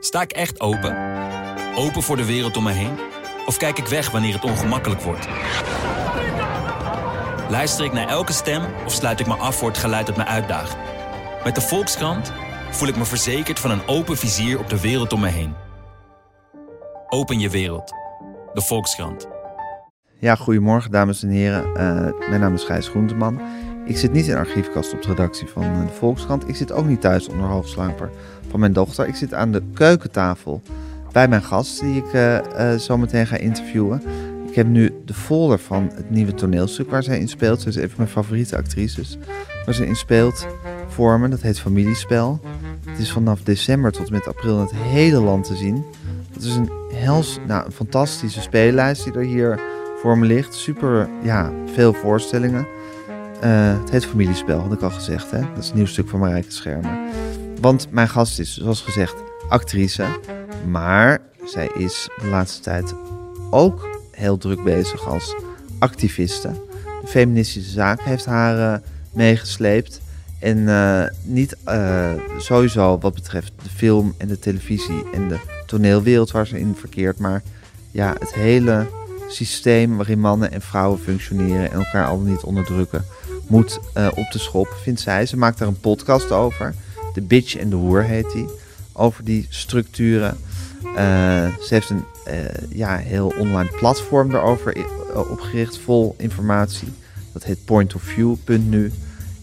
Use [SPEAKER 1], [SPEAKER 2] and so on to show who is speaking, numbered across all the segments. [SPEAKER 1] Sta ik echt open? Open voor de wereld om me heen? Of kijk ik weg wanneer het ongemakkelijk wordt? Luister ik naar elke stem of sluit ik me af voor het geluid dat me uitdaagt? Met de Volkskrant voel ik me verzekerd van een open vizier op de wereld om me heen. Open je wereld. De Volkskrant.
[SPEAKER 2] Ja, goedemorgen dames en heren. Eh, mijn naam is Gijs Groenteman. Ik zit niet in de archiefkast op de redactie van eh, de Volkskrant. Ik zit ook niet thuis onder hoofdsluiper van mijn dochter. Ik zit aan de keukentafel bij mijn gast die ik eh, eh, zo meteen ga interviewen. Ik heb nu de folder van het nieuwe toneelstuk waar zij in speelt. Ze is een van mijn favoriete actrices. Waar ze in speelt voor me. Dat heet Familiespel. Het is vanaf december tot en met april in het hele land te zien. Dat is een hels, nou, een fantastische speellijst die er hier voor me ligt. Super, ja, veel voorstellingen. Eh, het heet Familiespel, had ik al gezegd. Hè? Dat is een nieuw stuk van Marijke Schermer. Want mijn gast is, zoals gezegd, actrice. Maar zij is de laatste tijd ook heel druk bezig als activiste. De feministische zaak heeft haar eh, meegesleept. En eh, niet eh, sowieso wat betreft de film en de televisie en de toneelwereld waar ze in verkeert. Maar ja, het hele systeem waarin mannen en vrouwen functioneren en elkaar al dan niet onderdrukken, moet eh, op de schop, vindt zij. Ze maakt daar een podcast over. De Bitch en de Hoer heet die. Over die structuren. Eh, ze heeft een eh, ja, heel online platform daarover i- eh, opgericht, vol informatie. Dat heet pointofview.nu.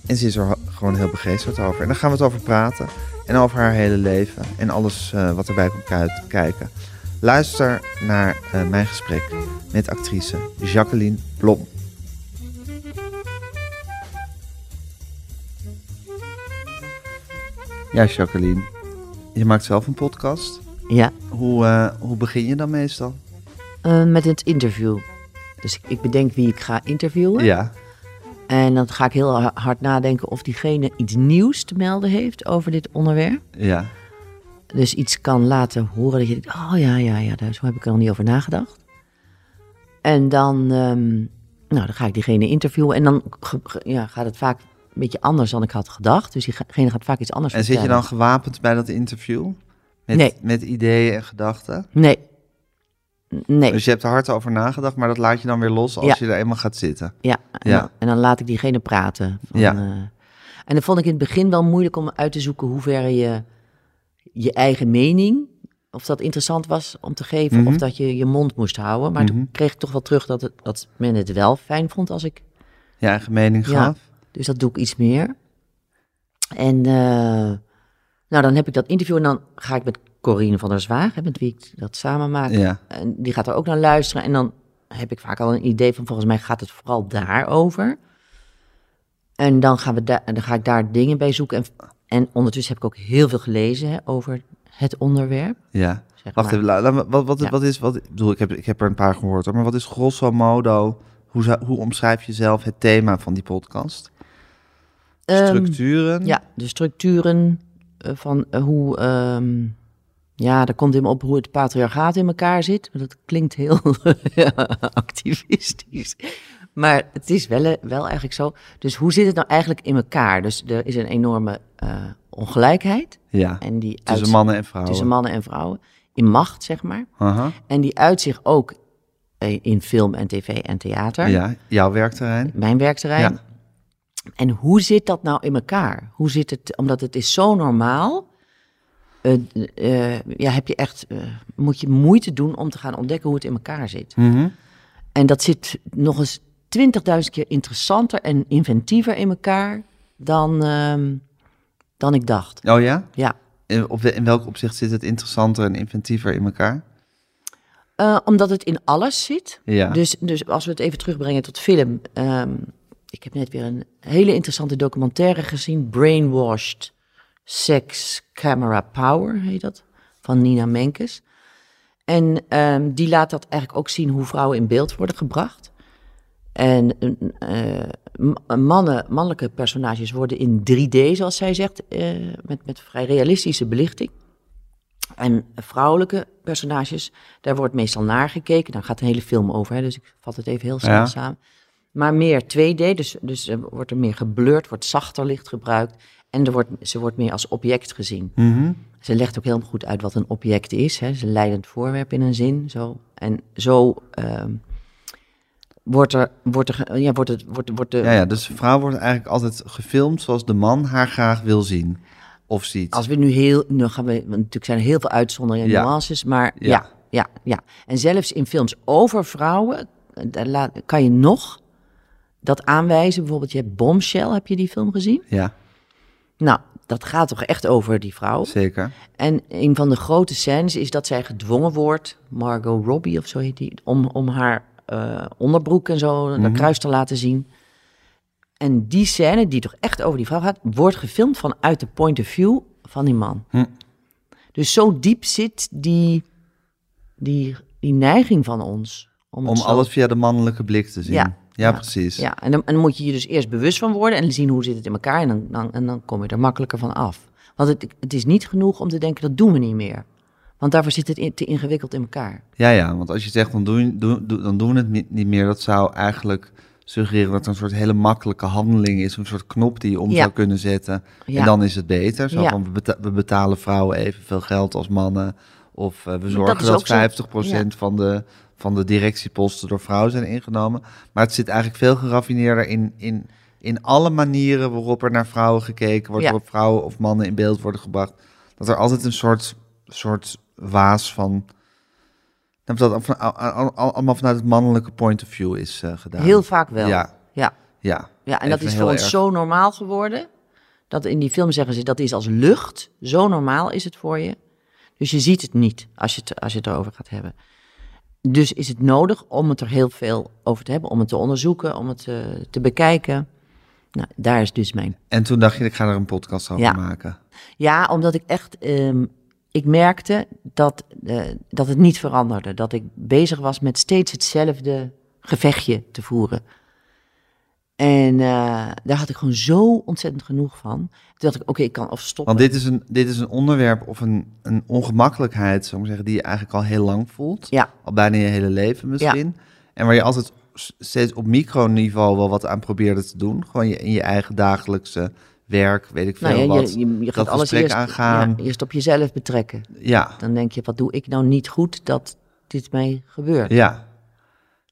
[SPEAKER 2] En ze is er ho- gewoon heel begeesterd over. En daar gaan we het over praten. En over haar hele leven. En alles eh, wat erbij komt kui- kijken. Luister naar eh, mijn gesprek met actrice Jacqueline Blom. Ja, Jacqueline, je maakt zelf een podcast.
[SPEAKER 3] Ja,
[SPEAKER 2] Hoe, eh, hoe begin je dan meestal?
[SPEAKER 3] eh, met het interview. Dus ik, ik bedenk wie ik ga interviewen.
[SPEAKER 2] Ja.
[SPEAKER 3] En dan ga ik heel ha- hard nadenken of diegene iets nieuws te melden heeft over dit onderwerp.
[SPEAKER 2] Ja.
[SPEAKER 3] Dus iets kan laten horen dat je denkt, oh ja, ja, ja, daar zo heb ik er al niet over nagedacht. En dan, ehm, nou, dan ga ik diegene interviewen. En dan ge- ge- ja, gaat het vaak een beetje anders dan ik had gedacht. Dus diegene gaat vaak iets anders
[SPEAKER 2] En zit je
[SPEAKER 3] vertellen.
[SPEAKER 2] dan gewapend bij dat interview? Met,
[SPEAKER 3] Nee.
[SPEAKER 2] met ideeën en gedachten?
[SPEAKER 3] Nee. Nee.
[SPEAKER 2] Dus je hebt er hard over nagedacht, maar dat laat je dan weer los als
[SPEAKER 3] Ja.
[SPEAKER 2] je er eenmaal gaat zitten.
[SPEAKER 3] Ja, en,
[SPEAKER 2] Ja.
[SPEAKER 3] Dan, en dan laat ik diegene praten. Van,
[SPEAKER 2] Ja.
[SPEAKER 3] eh, en dat vond ik in het begin wel moeilijk om uit te zoeken hoe ver je je eigen mening, of dat interessant was om te geven,
[SPEAKER 2] Mhm.
[SPEAKER 3] of dat je je mond moest houden. Maar
[SPEAKER 2] Mhm.
[SPEAKER 3] toen kreeg ik toch wel terug dat, het, dat men het wel fijn vond als ik.
[SPEAKER 2] Je eigen mening
[SPEAKER 3] Ja.
[SPEAKER 2] gaf.
[SPEAKER 3] Dus dat doe ik iets meer. En eh, nou, dan heb ik dat interview en dan ga ik met Corine van der Zwaag, hè, met wie ik dat samen maak,
[SPEAKER 2] Ja.
[SPEAKER 3] en die gaat er ook naar luisteren. En dan heb ik vaak al een idee van, volgens mij gaat het vooral daarover. En dan, gaan we daar, en dan ga ik daar dingen bij zoeken. En, en ondertussen heb ik ook heel veel gelezen hè, over het onderwerp.
[SPEAKER 2] Ja.
[SPEAKER 3] Zeg
[SPEAKER 2] Wacht
[SPEAKER 3] maar.
[SPEAKER 2] even, la- la- wat, wat,
[SPEAKER 3] Ja.
[SPEAKER 2] wat is, wat, ik bedoel, ik heb, ik heb er een paar gehoord, hoor, maar wat is grosso modo, hoe, zou- hoe omschrijf je zelf het thema van die podcast?
[SPEAKER 3] Ehm,
[SPEAKER 2] Structuren?
[SPEAKER 3] ja, de structuren eh, van eh, hoe... ehm, ja, daar komt in me op hoe het patriarchaat in elkaar zit. Maar Dat klinkt heel activistisch. Maar het is wel, eh, wel eigenlijk zo. Dus hoe zit het nou eigenlijk in elkaar? Dus er is een enorme eh, ongelijkheid.
[SPEAKER 2] Ja,
[SPEAKER 3] En die
[SPEAKER 2] tussen
[SPEAKER 3] uit-
[SPEAKER 2] mannen en vrouwen.
[SPEAKER 3] tussen mannen en vrouwen. In macht, zeg maar.
[SPEAKER 2] Aha.
[SPEAKER 3] En die uit zich ook eh, in film en tv en theater.
[SPEAKER 2] Ja, jouw werkterrein.
[SPEAKER 3] Mijn werkterrein.
[SPEAKER 2] Ja.
[SPEAKER 3] En hoe zit dat nou in elkaar? Hoe zit het? Omdat het is zo normaal. eh, eh, ja, heb je echt, eh, moet je moeite doen om te gaan ontdekken hoe het in elkaar zit.
[SPEAKER 2] Mhm.
[SPEAKER 3] En dat zit nog eens 20.000 keer interessanter en inventiever in elkaar dan, ehm, dan ik dacht.
[SPEAKER 2] Oh ja?
[SPEAKER 3] Ja.
[SPEAKER 2] In, op, in welk opzicht zit het interessanter en inventiever in elkaar?
[SPEAKER 3] Eh, omdat het in alles zit.
[SPEAKER 2] Ja.
[SPEAKER 3] Dus, dus als we het even terugbrengen tot film. ehm, ik heb net weer een hele interessante documentaire gezien. Brainwashed Sex Camera Power heet dat. Van Nina Menkes. En ehm, die laat dat eigenlijk ook zien hoe vrouwen in beeld worden gebracht. En eh, eh, m- mannen, mannelijke personages worden in 3D, zoals zij zegt, eh, met, met vrij realistische belichting. En vrouwelijke personages, daar wordt meestal naar gekeken. Nou, Daar gaat een hele film over, hè, dus ik vat het even heel snel
[SPEAKER 2] Ja.
[SPEAKER 3] samen. Maar meer 2D, dus, dus eh, wordt er meer geblurred, wordt zachter licht gebruikt. En er wordt, ze wordt meer als object gezien.
[SPEAKER 2] Mhm.
[SPEAKER 3] Ze legt ook heel goed uit wat een object is. Hè. Ze is een leidend voorwerp in een zin. Zo. En zo ehm, wordt er, wordt er, ge- ja, wordt het, wordt, wordt de,
[SPEAKER 2] Ja, ja, dus de vrouw wordt eigenlijk altijd gefilmd zoals de man haar graag wil zien of ziet.
[SPEAKER 3] Als we nu heel, nu gaan we, want natuurlijk zijn er heel veel uitzonderingen en
[SPEAKER 2] Ja.
[SPEAKER 3] nuances, maar
[SPEAKER 2] Ja.
[SPEAKER 3] ja. ja, ja, En zelfs in films over vrouwen, eh, daar laat- kan je nog dat aanwijzen. Bijvoorbeeld, je hebt Bombshell, heb je die film gezien?
[SPEAKER 2] Ja,
[SPEAKER 3] Nou, dat gaat toch echt over die vrouw.
[SPEAKER 2] zeker.
[SPEAKER 3] En een van de grote scènes is dat zij gedwongen wordt, Margot Robbie of zo heet die, om, om haar eh, onderbroek en zo, naar
[SPEAKER 2] Mhm.
[SPEAKER 3] kruis te laten zien. En die scène, die toch echt over die vrouw gaat, wordt gefilmd vanuit de point of view van die man.
[SPEAKER 2] Hm.
[SPEAKER 3] Dus zo diep zit die, die, die neiging van ons. het
[SPEAKER 2] Om
[SPEAKER 3] zo-
[SPEAKER 2] alles via de mannelijke blik te zien. Ja,
[SPEAKER 3] Ja.
[SPEAKER 2] precies.
[SPEAKER 3] Ja, en dan, en dan moet je je dus eerst bewust van worden en zien hoe zit het in elkaar. En dan, dan, en dan kom je er makkelijker van af. Want het, het is niet genoeg om te denken, dat doen we niet meer. Want daarvoor zit het in- te ingewikkeld in elkaar.
[SPEAKER 2] Ja, ja, want als je zegt, dan doen, doen, doen- dan doen we het niet- niet meer. Dat zou eigenlijk suggereren dat er een soort hele makkelijke handeling is. Een soort knop die je om
[SPEAKER 3] Ja.
[SPEAKER 2] zou kunnen zetten. En
[SPEAKER 3] Ja.
[SPEAKER 2] dan is het beter. Zo
[SPEAKER 3] Ja.
[SPEAKER 2] van, we, beta- we betalen vrouwen evenveel geld als mannen. Of eh, we zorgen
[SPEAKER 3] is ook
[SPEAKER 2] dat,
[SPEAKER 3] zo.
[SPEAKER 2] 50% van, de, van de directieposten door vrouwen zijn ingenomen. Maar het zit eigenlijk veel geraffineerder in... in in alle manieren waarop er naar vrouwen gekeken wordt,
[SPEAKER 3] Ja.
[SPEAKER 2] waarop vrouwen of mannen in beeld worden gebracht, dat er altijd een soort, soort waas van dat dat Nou, van- al- al- al- allemaal vanuit het mannelijke point of view is eh, gedaan.
[SPEAKER 3] Heel vaak wel.
[SPEAKER 2] Ja.
[SPEAKER 3] ja.
[SPEAKER 2] Ja,
[SPEAKER 3] Ja, en
[SPEAKER 2] Even
[SPEAKER 3] dat is
[SPEAKER 2] heel
[SPEAKER 3] voor ons
[SPEAKER 2] erg.
[SPEAKER 3] zo normaal geworden. Dat in die film zeggen ze dat is als lucht. Zo normaal is het voor je. Dus je ziet het niet als je het, als je het erover gaat hebben. Dus is het nodig om het er heel veel over te hebben, om het te onderzoeken, om het eh, te bekijken. Nou, daar is dus mijn.
[SPEAKER 2] En toen dacht je, ik ga er een podcast over
[SPEAKER 3] Ja.
[SPEAKER 2] maken.
[SPEAKER 3] Ja, omdat ik echt. ehm, ik merkte dat, eh, dat het niet veranderde. Dat ik bezig was met steeds hetzelfde gevechtje te voeren. En eh, daar had ik gewoon zo ontzettend genoeg van. Toen dacht ik, oké, ik kan of stoppen.
[SPEAKER 2] Want dit is een, dit is een onderwerp of een, een ongemakkelijkheid, zou ik maar zeggen, die je eigenlijk al heel lang voelt.
[SPEAKER 3] Ja,
[SPEAKER 2] Al bijna je hele leven misschien. En waar je altijd s- steeds op microniveau wel wat aan probeerde te doen. Gewoon je, in je eigen dagelijkse werk, weet ik veel
[SPEAKER 3] nou ja,
[SPEAKER 2] wat.
[SPEAKER 3] je, je, je
[SPEAKER 2] dat
[SPEAKER 3] gaat alles
[SPEAKER 2] gesprek
[SPEAKER 3] eerst,
[SPEAKER 2] aangaan.
[SPEAKER 3] ja, eerst op jezelf betrekken.
[SPEAKER 2] ja.
[SPEAKER 3] Dan denk je, wat doe ik nou niet goed dat dit mij gebeurt?
[SPEAKER 2] Ja.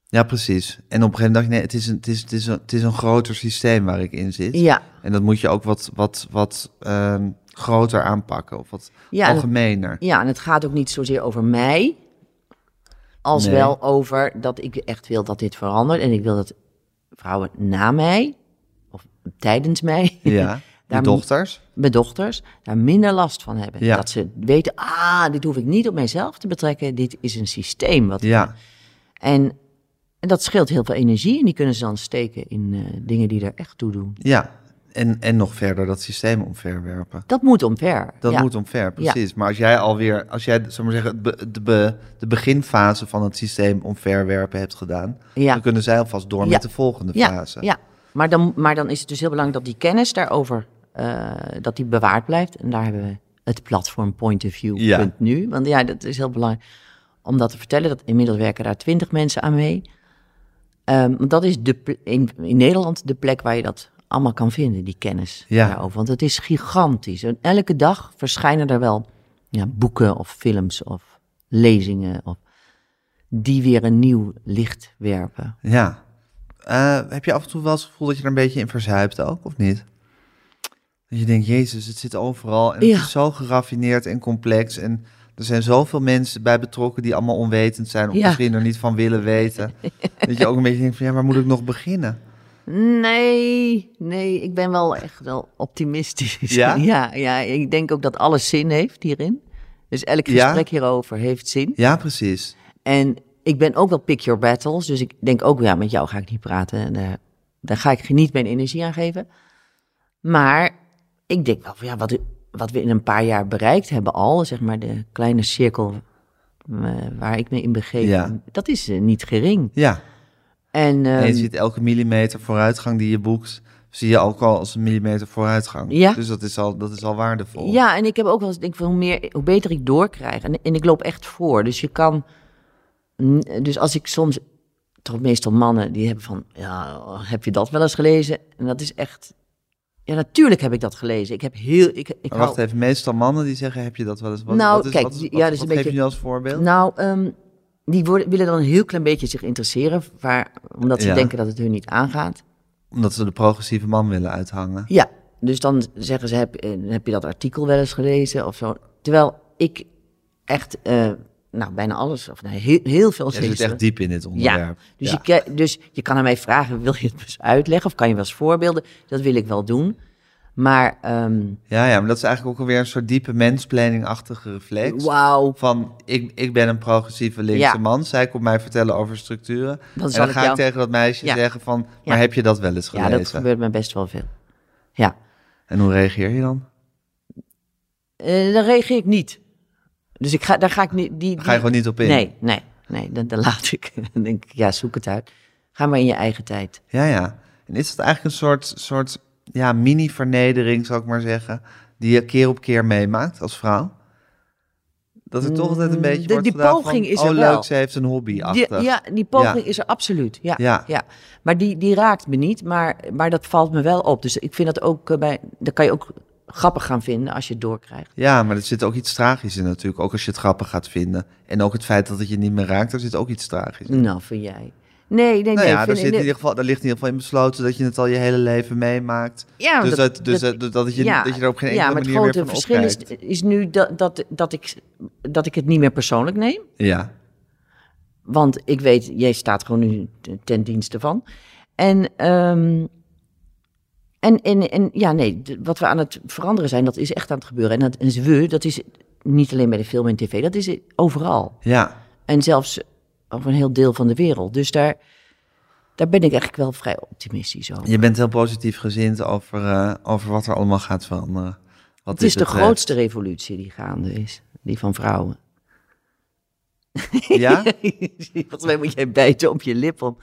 [SPEAKER 2] Ja, precies. En op een gegeven moment dacht ik, nee, het is een, het is, het is een, het is een groter systeem waar ik in zit.
[SPEAKER 3] Ja,
[SPEAKER 2] En dat moet je ook wat, wat, wat ehm, groter aanpakken of wat
[SPEAKER 3] ja, en het-
[SPEAKER 2] algemener.
[SPEAKER 3] Ja, en het gaat ook niet zozeer over mij. Als
[SPEAKER 2] Nee.
[SPEAKER 3] wel over dat ik echt wil dat dit verandert. En ik wil dat vrouwen na mij, of tijdens mij,
[SPEAKER 2] Ja, die
[SPEAKER 3] Daar
[SPEAKER 2] dochters.
[SPEAKER 3] mijn dochters, daar minder last van hebben.
[SPEAKER 2] Ja.
[SPEAKER 3] Dat ze weten, ah, dit hoef ik niet op mijzelf te betrekken. Dit is een systeem. Wat
[SPEAKER 2] Ja,
[SPEAKER 3] en, en dat scheelt heel veel energie. En die kunnen ze dan steken in eh, dingen die er echt toe doen.
[SPEAKER 2] ja. En, en nog verder dat systeem omverwerpen.
[SPEAKER 3] Dat moet omver.
[SPEAKER 2] Dat
[SPEAKER 3] ja.
[SPEAKER 2] moet omver, precies. Maar als jij alweer, als jij, zal ik maar zeggen, het be- de, be- de beginfase van het systeem omverwerpen hebt gedaan,
[SPEAKER 3] Ja.
[SPEAKER 2] dan kunnen zij alvast door
[SPEAKER 3] Ja.
[SPEAKER 2] met de volgende
[SPEAKER 3] Ja,
[SPEAKER 2] fase.
[SPEAKER 3] ja. Maar, dan, maar dan is het dus heel belangrijk dat die kennis daarover eh, dat die bewaard blijft. En daar hebben we het platform Point of View
[SPEAKER 2] Ja.
[SPEAKER 3] punt nu. Want ja, dat is heel belangrijk om dat te vertellen. Dat inmiddels werken daar twintig mensen aan mee. Ehm, want dat is de, pl- in, in Nederland de plek waar je dat allemaal kan vinden, die kennis
[SPEAKER 2] Ja.
[SPEAKER 3] daarover. Want het is gigantisch. En elke dag verschijnen er wel ja, boeken of films of lezingen of, die weer een nieuw licht werpen.
[SPEAKER 2] Ja. Eh, heb je af en toe wel eens het gevoel dat je er een beetje in verzuipt ook, of niet? Dat je denkt, jezus, het zit overal en het
[SPEAKER 3] Ja.
[SPEAKER 2] is zo geraffineerd en complex. En er zijn zoveel mensen bij betrokken die allemaal onwetend zijn of
[SPEAKER 3] Ja.
[SPEAKER 2] misschien er niet van willen weten. dat je ook een beetje denkt van, ja, waar moet ik nog beginnen?
[SPEAKER 3] Nee, nee, ik ben wel echt wel optimistisch.
[SPEAKER 2] Ja?
[SPEAKER 3] ja, ja, ik denk ook dat alles zin heeft hierin. Dus elk
[SPEAKER 2] Ja?
[SPEAKER 3] gesprek hierover heeft zin.
[SPEAKER 2] Ja, precies.
[SPEAKER 3] En ik ben ook wel pick your battles. Dus ik denk ook, ja, met jou ga ik niet praten. En eh, daar ga ik niet mijn energie aan geven. Maar ik denk wel van, ja, wat, wat we in een paar jaar bereikt hebben al, zeg maar de kleine cirkel eh, waar ik me in begeef,
[SPEAKER 2] Ja.
[SPEAKER 3] dat is eh, niet gering.
[SPEAKER 2] Ja.
[SPEAKER 3] En,
[SPEAKER 2] En je
[SPEAKER 3] ehm,
[SPEAKER 2] ziet elke millimeter vooruitgang die je boekt, zie je ook al als een millimeter vooruitgang.
[SPEAKER 3] Ja.
[SPEAKER 2] Dus dat is al, dat is al waardevol.
[SPEAKER 3] Ja, en ik heb ook wel eens, denk van hoe, meer, hoe beter ik doorkrijg. En, en ik loop echt voor. Dus je kan. n- Dus als ik soms. Toch meestal mannen die hebben van. Ja, heb je dat wel eens gelezen? En dat is echt. Ja, natuurlijk heb ik dat gelezen. Ik heb heel... Ik, ik
[SPEAKER 2] Maar
[SPEAKER 3] hou-
[SPEAKER 2] wacht even, meestal mannen die zeggen, heb je dat wel eens... Wat,
[SPEAKER 3] Nou,
[SPEAKER 2] wat is,
[SPEAKER 3] kijk,
[SPEAKER 2] wat, is-
[SPEAKER 3] die-
[SPEAKER 2] wat-
[SPEAKER 3] ja, dus
[SPEAKER 2] wat
[SPEAKER 3] een
[SPEAKER 2] geef
[SPEAKER 3] beetje-
[SPEAKER 2] je als voorbeeld?
[SPEAKER 3] Nou, ehm, die worden, willen dan een heel klein beetje zich interesseren, waar, omdat ze
[SPEAKER 2] Ja.
[SPEAKER 3] denken dat het hun niet aangaat.
[SPEAKER 2] Omdat ze de progressieve man willen uithangen.
[SPEAKER 3] Ja, dus dan zeggen ze, heb, eh, heb je dat artikel wel eens gelezen of zo? Terwijl ik echt, eh, nou, bijna alles, of nou, heel, heel veel
[SPEAKER 2] Je zit
[SPEAKER 3] gelezen.
[SPEAKER 2] echt diep in dit
[SPEAKER 3] Ja,
[SPEAKER 2] onderwerp.
[SPEAKER 3] dus, Je, ke- dus je kan aan mij vragen, wil je het eens uitleggen of kan je wel eens voorbeelden? Dat wil ik wel doen. Maar, ehm,
[SPEAKER 2] Ja, ja, maar dat is eigenlijk ook alweer een soort diepe mensplanning-achtige reflex.
[SPEAKER 3] wauw,
[SPEAKER 2] Van, ik, ik ben een progressieve linkse
[SPEAKER 3] Ja.
[SPEAKER 2] man. Zij komt mij vertellen over structuren.
[SPEAKER 3] Dan
[SPEAKER 2] en
[SPEAKER 3] zal
[SPEAKER 2] dan
[SPEAKER 3] ik
[SPEAKER 2] ga ik
[SPEAKER 3] jou-
[SPEAKER 2] tegen dat meisje
[SPEAKER 3] Ja.
[SPEAKER 2] zeggen van... Maar
[SPEAKER 3] Ja.
[SPEAKER 2] heb je dat wel eens
[SPEAKER 3] ja,
[SPEAKER 2] gelezen?
[SPEAKER 3] dat gebeurt me best wel veel. Ja,
[SPEAKER 2] En hoe reageer je dan?
[SPEAKER 3] Eh, dan reageer ik niet. Dus ik ga, daar ga ik niet... Die,
[SPEAKER 2] Daar ga je
[SPEAKER 3] die-
[SPEAKER 2] gewoon niet op in?
[SPEAKER 3] Nee, nee, nee, dan, dan laat ik. Dan denk ik, ja, zoek het uit. Ga maar in je eigen tijd.
[SPEAKER 2] Ja, ja. En is dat eigenlijk een soort, soort ja, mini-vernedering, zal ik maar zeggen... die je keer op keer meemaakt als vrouw? Dat er toch altijd een beetje
[SPEAKER 3] Mm, de-
[SPEAKER 2] wordt
[SPEAKER 3] die
[SPEAKER 2] gedaan van,
[SPEAKER 3] poging is
[SPEAKER 2] oh,
[SPEAKER 3] er
[SPEAKER 2] leuk,
[SPEAKER 3] wel.
[SPEAKER 2] ze heeft een hobby
[SPEAKER 3] Die-
[SPEAKER 2] achter.
[SPEAKER 3] ja, die poging
[SPEAKER 2] Ja.
[SPEAKER 3] is er absoluut. Ja,
[SPEAKER 2] Ja.
[SPEAKER 3] ja. Maar die, die raakt me niet, maar, maar dat valt me wel op. Dus ik vind dat ook eh, bij... Dat kan je ook grappig gaan vinden als je het doorkrijgt.
[SPEAKER 2] Ja, maar er zit ook iets tragisch in natuurlijk. Ook als je het grappig gaat vinden. En ook het feit dat het je niet meer raakt, daar zit ook iets tragisch in.
[SPEAKER 3] Nou, vind jij... Nee, nee, nee.
[SPEAKER 2] nou ja,
[SPEAKER 3] vind
[SPEAKER 2] daar,
[SPEAKER 3] ik-
[SPEAKER 2] zit in ieder geval, daar ligt in ieder geval in besloten dat je het al je hele leven meemaakt.
[SPEAKER 3] Ja,
[SPEAKER 2] dus
[SPEAKER 3] want
[SPEAKER 2] dat, dus dat, dus
[SPEAKER 3] dat-
[SPEAKER 2] dat, je, dat je er op geen enkele
[SPEAKER 3] ja, maar
[SPEAKER 2] manier meer van
[SPEAKER 3] het grote verschil
[SPEAKER 2] opkijkt.
[SPEAKER 3] is, is nu dat, dat, dat, ik, dat ik het niet meer persoonlijk neem.
[SPEAKER 2] Ja,
[SPEAKER 3] Want ik weet, jij staat gewoon nu t- ten dienste van. En, ehm, en, en, en ja, nee, d- wat we aan het veranderen zijn, dat is echt aan het gebeuren. En dat en we, dat is niet alleen bij de film en tv, dat is overal.
[SPEAKER 2] ja.
[SPEAKER 3] En zelfs over een heel deel van de wereld. Dus daar, daar ben ik eigenlijk wel vrij optimistisch over.
[SPEAKER 2] Je bent heel positief gezind over, eh, over wat er allemaal gaat veranderen. Wat eh,
[SPEAKER 3] het is
[SPEAKER 2] dit
[SPEAKER 3] de
[SPEAKER 2] betreft.
[SPEAKER 3] grootste revolutie die gaande is, die van vrouwen.
[SPEAKER 2] Ja?
[SPEAKER 3] Volgens mij moet jij bijten op je lip om.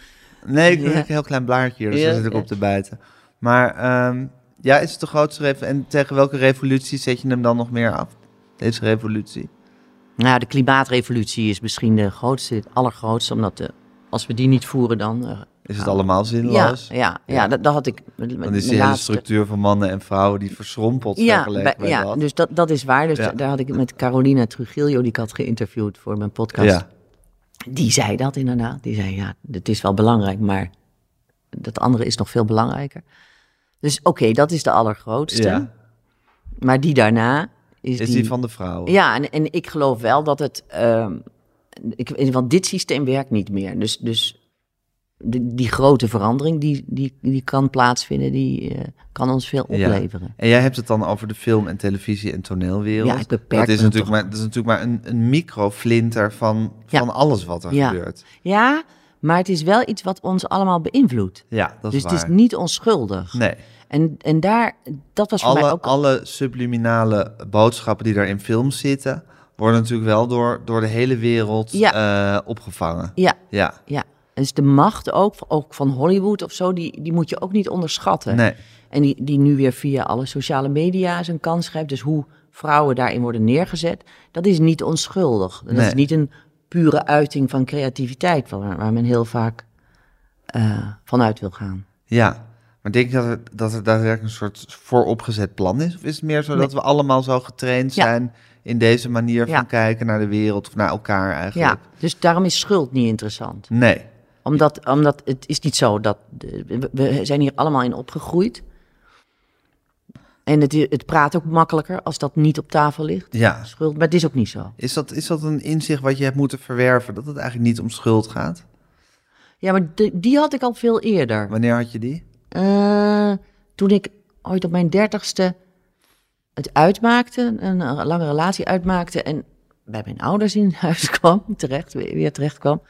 [SPEAKER 2] Nee, ik heb
[SPEAKER 3] Ja.
[SPEAKER 2] een heel klein blaartje hier, dus
[SPEAKER 3] Ja,
[SPEAKER 2] daar zit ik
[SPEAKER 3] ja.
[SPEAKER 2] op te bijten. Maar ehm, ja, is het de grootste revolutie? En tegen welke revolutie zet je hem dan nog meer af? Deze revolutie?
[SPEAKER 3] Nou, de klimaatrevolutie is misschien de grootste, het allergrootste, omdat eh, als we die niet voeren dan... eh,
[SPEAKER 2] Is het
[SPEAKER 3] Ja.
[SPEAKER 2] allemaal
[SPEAKER 3] ja,
[SPEAKER 2] zinloos?
[SPEAKER 3] ja, ja, dat, dat had ik met, met
[SPEAKER 2] Dan is
[SPEAKER 3] mijn
[SPEAKER 2] die hele
[SPEAKER 3] laatste-
[SPEAKER 2] structuur van mannen en vrouwen die verschrompeld
[SPEAKER 3] Ja,
[SPEAKER 2] vergeleken
[SPEAKER 3] bij-
[SPEAKER 2] bij
[SPEAKER 3] ja
[SPEAKER 2] dat.
[SPEAKER 3] dus dat, dat is waar. Dus
[SPEAKER 2] Ja.
[SPEAKER 3] da- daar had ik het met Carolina Trujillo, die ik had geïnterviewd voor mijn podcast.
[SPEAKER 2] ja.
[SPEAKER 3] Die zei dat inderdaad. Die zei, ja, het is wel belangrijk, maar dat andere is nog veel belangrijker. Dus oké, dat is de allergrootste.
[SPEAKER 2] Ja.
[SPEAKER 3] Maar die daarna is,
[SPEAKER 2] Is die van de vrouwen?
[SPEAKER 3] Ja, en, en ik geloof wel dat het. ehm, ik, want dit systeem werkt niet meer. Dus, dus die, die grote verandering die, die, die kan plaatsvinden, die eh, kan ons veel
[SPEAKER 2] Ja.
[SPEAKER 3] opleveren.
[SPEAKER 2] En jij hebt het dan over de film en televisie en toneelwereld.
[SPEAKER 3] Ja, ik beperk
[SPEAKER 2] dat is
[SPEAKER 3] me
[SPEAKER 2] natuurlijk
[SPEAKER 3] toch.
[SPEAKER 2] maar, Dat is natuurlijk maar een, een microflinter van,
[SPEAKER 3] Ja.
[SPEAKER 2] van alles wat er
[SPEAKER 3] Ja.
[SPEAKER 2] gebeurt.
[SPEAKER 3] Ja. maar het is wel iets wat ons allemaal beïnvloedt.
[SPEAKER 2] Ja, dat
[SPEAKER 3] Dus
[SPEAKER 2] is waar.
[SPEAKER 3] het is niet onschuldig.
[SPEAKER 2] Nee,
[SPEAKER 3] En, en daar, dat was voor mij
[SPEAKER 2] alle,
[SPEAKER 3] ook.
[SPEAKER 2] alle subliminale boodschappen die daar in films zitten... worden natuurlijk wel door, door de hele wereld eh, opgevangen.
[SPEAKER 3] Ja,
[SPEAKER 2] Ja,
[SPEAKER 3] ja. Dus de macht ook, ook van Hollywood of zo, die, die moet je ook niet onderschatten.
[SPEAKER 2] nee.
[SPEAKER 3] En die, die nu weer via alle sociale media zijn kans schrijft. Dus hoe vrouwen daarin worden neergezet, dat is niet onschuldig. Dat
[SPEAKER 2] Nee.
[SPEAKER 3] is niet een pure uiting van creativiteit, waar, waar men heel vaak eh, vanuit wil gaan.
[SPEAKER 2] Ja, maar denk je dat er, dat er daadwerkelijk een soort vooropgezet plan is? Of is het meer zo dat we allemaal zo getraind
[SPEAKER 3] Ja.
[SPEAKER 2] zijn in deze manier van
[SPEAKER 3] Ja.
[SPEAKER 2] kijken naar de wereld of naar elkaar
[SPEAKER 3] Ja,
[SPEAKER 2] eigenlijk?
[SPEAKER 3] dus daarom is schuld niet interessant.
[SPEAKER 2] Nee.
[SPEAKER 3] Omdat, omdat het is niet zo dat... eh, we- We zijn hier allemaal in opgegroeid. En het, het praat ook makkelijker als dat niet op tafel ligt.
[SPEAKER 2] Ja.
[SPEAKER 3] Schuld, maar het is ook niet zo.
[SPEAKER 2] Is dat, is dat een inzicht wat je hebt moeten verwerven? Dat het eigenlijk niet om schuld gaat?
[SPEAKER 3] Ja, maar de- die had ik al veel eerder.
[SPEAKER 2] Wanneer had je die?
[SPEAKER 3] Eh, toen ik ooit op mijn dertigste het uitmaakte, een eh, lange relatie uitmaakte en bij mijn ouders in huis kwam, terecht, weer weer terecht kwam.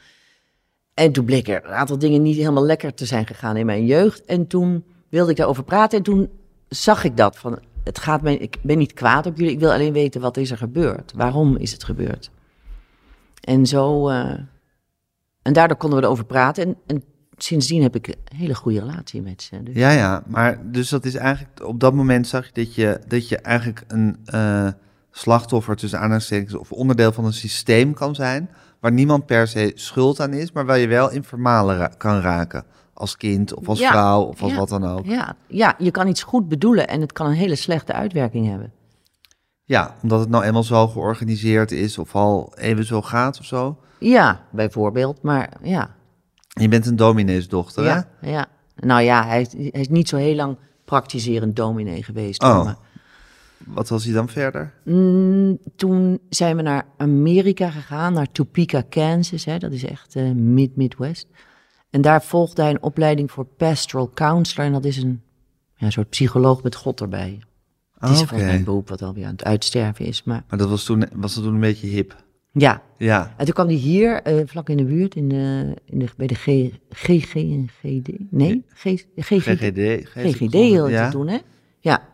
[SPEAKER 3] En toen bleek er een aantal dingen niet helemaal lekker te zijn gegaan in mijn jeugd. En toen wilde ik daarover praten en toen zag ik dat van, het gaat mij, ik ben niet kwaad op jullie, ik wil alleen weten wat is er gebeurd. Waarom is het gebeurd? En zo, eh, en daardoor konden we erover praten en, en sindsdien heb ik een hele goede relatie met ze. Dus-
[SPEAKER 2] Ja, ja. Maar dus dat is eigenlijk, op dat moment zag je dat je, dat je eigenlijk een eh, slachtoffer tussen aanhalingstekens of onderdeel van een systeem kan zijn. Waar niemand per se schuld aan is, maar waar je wel in vermalen ra- kan raken. als kind of als
[SPEAKER 3] Ja.
[SPEAKER 2] vrouw of als
[SPEAKER 3] Ja.
[SPEAKER 2] wat dan ook.
[SPEAKER 3] Ja, ja, je kan iets goed bedoelen en het kan een hele slechte uitwerking hebben.
[SPEAKER 2] Ja, omdat het nou eenmaal zo georganiseerd is of al even zo gaat of zo.
[SPEAKER 3] Ja, bijvoorbeeld, maar ja.
[SPEAKER 2] Je bent een domineesdochter, hè?
[SPEAKER 3] Ja, ja. Nou ja, hij, is- hij is niet zo heel lang praktiserend dominee geweest. hoor,
[SPEAKER 2] Oh.
[SPEAKER 3] maar mm,
[SPEAKER 2] Wat was hij dan verder?
[SPEAKER 3] Toen zijn we naar Amerika gegaan, naar Topeka, Kansas. Hè, dat is echt eh, mid-midwest. En daar volgde hij een opleiding voor pastoral counselor. En dat is een ja, soort psycholoog met God erbij. Het
[SPEAKER 2] Ah,
[SPEAKER 3] is
[SPEAKER 2] Oké.
[SPEAKER 3] volgens mij een beroep wat alweer aan het uitsterven is. Maar
[SPEAKER 2] Maar dat was toen, was dat toen een beetje hip.
[SPEAKER 3] ja,
[SPEAKER 2] Ja.
[SPEAKER 3] en toen kwam hij hier, eh, vlak in de buurt, in de, in de, bij de G, GG en GD. Nee, G,
[SPEAKER 2] GGD.
[SPEAKER 3] GGD. GGD heel
[SPEAKER 2] ja.
[SPEAKER 3] te doen, hè? Ja.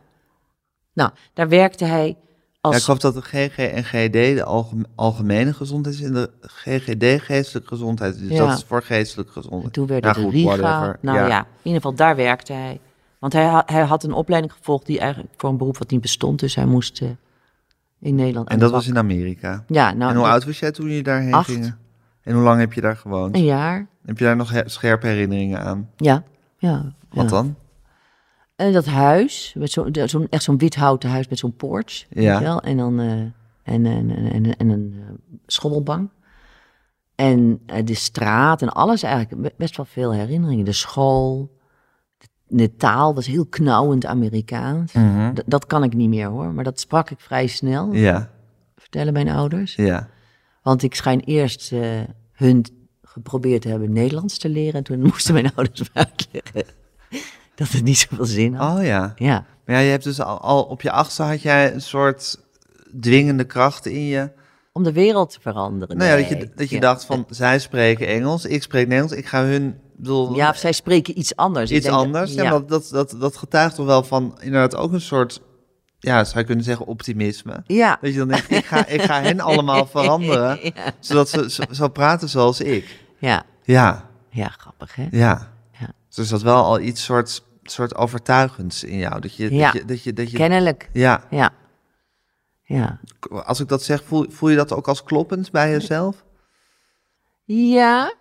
[SPEAKER 3] Nou, daar werkte hij als...
[SPEAKER 2] Ja, ik geloof dat de GG en GD de algem- algemene gezondheid is en de GGD geestelijke gezondheid. is. Dus
[SPEAKER 3] Ja.
[SPEAKER 2] dat is voor geestelijke gezondheid.
[SPEAKER 3] Toen werd
[SPEAKER 2] Ja,
[SPEAKER 3] het
[SPEAKER 2] goed,
[SPEAKER 3] Riga.
[SPEAKER 2] whatever.
[SPEAKER 3] Nou ja. in ieder geval daar werkte hij. Want hij, ha- hij had een opleiding gevolgd die eigenlijk voor een beroep wat niet bestond. Dus hij moest eh, in Nederland aan
[SPEAKER 2] En
[SPEAKER 3] de
[SPEAKER 2] dat was
[SPEAKER 3] bak.
[SPEAKER 2] in Amerika.
[SPEAKER 3] Ja, nou,
[SPEAKER 2] en hoe
[SPEAKER 3] dat-
[SPEAKER 2] oud was jij toen je daarheen
[SPEAKER 3] Acht.
[SPEAKER 2] ging? En hoe lang heb je daar gewoond?
[SPEAKER 3] Een jaar.
[SPEAKER 2] Heb je daar nog he- scherpe herinneringen aan?
[SPEAKER 3] Ja. ja.
[SPEAKER 2] Wat
[SPEAKER 3] ja.
[SPEAKER 2] dan?
[SPEAKER 3] En Eh, dat huis, met zo, de- zo'n- echt zo'n wit houten huis met zo'n porch. weet
[SPEAKER 2] Ja.
[SPEAKER 3] je wel? En dan eh, en, en, en, en, en een eh, schommelbank. En eh, de straat en alles eigenlijk. be- Best wel veel herinneringen. De school, de, de taal, dat is heel knauwend Amerikaans. D- dat kan ik niet meer hoor, maar dat sprak ik vrij snel.
[SPEAKER 2] Mhm. Ja,
[SPEAKER 3] Vertellen mijn ouders.
[SPEAKER 2] ja.
[SPEAKER 3] Want ik schijn eerst eh, hun geprobeerd te hebben Nederlands te leren. En toen moesten mijn ouders me uitleggen dat het niet zoveel zin had.
[SPEAKER 2] Oh ja.
[SPEAKER 3] Ja.
[SPEAKER 2] Maar ja, je hebt dus al, al op je achtste had jij een soort dwingende kracht in je.
[SPEAKER 3] Om de wereld te veranderen.
[SPEAKER 2] Nou ja, dat
[SPEAKER 3] nee.
[SPEAKER 2] je, dat je
[SPEAKER 3] Ja.
[SPEAKER 2] dacht van, zij spreken Engels, ik spreek Nederlands, ik ga hun... ik Bedoel,
[SPEAKER 3] Ja, of zij spreken iets anders. Dus Ik
[SPEAKER 2] iets
[SPEAKER 3] denk dat-
[SPEAKER 2] anders. ja.
[SPEAKER 3] ja.
[SPEAKER 2] maar dat, dat, dat getuigt toch wel van inderdaad ook een soort, ja, zou je kunnen zeggen, optimisme.
[SPEAKER 3] Ja.
[SPEAKER 2] Dat je dan denkt, ik ga, ik ga hen allemaal veranderen, zodat ze zo, zo praten zoals ik.
[SPEAKER 3] Ja.
[SPEAKER 2] Ja,
[SPEAKER 3] ja, grappig hè?
[SPEAKER 2] ja.
[SPEAKER 3] Ja.
[SPEAKER 2] Dus dat wel al iets soort, soort overtuigends in jou. Dat je,
[SPEAKER 3] Ja.
[SPEAKER 2] dat je, dat je, dat je
[SPEAKER 3] Kennelijk.
[SPEAKER 2] ja,
[SPEAKER 3] Ja. Ja.
[SPEAKER 2] als ik dat zeg, voel, voel je dat ook als kloppend bij jezelf?
[SPEAKER 3] Ja.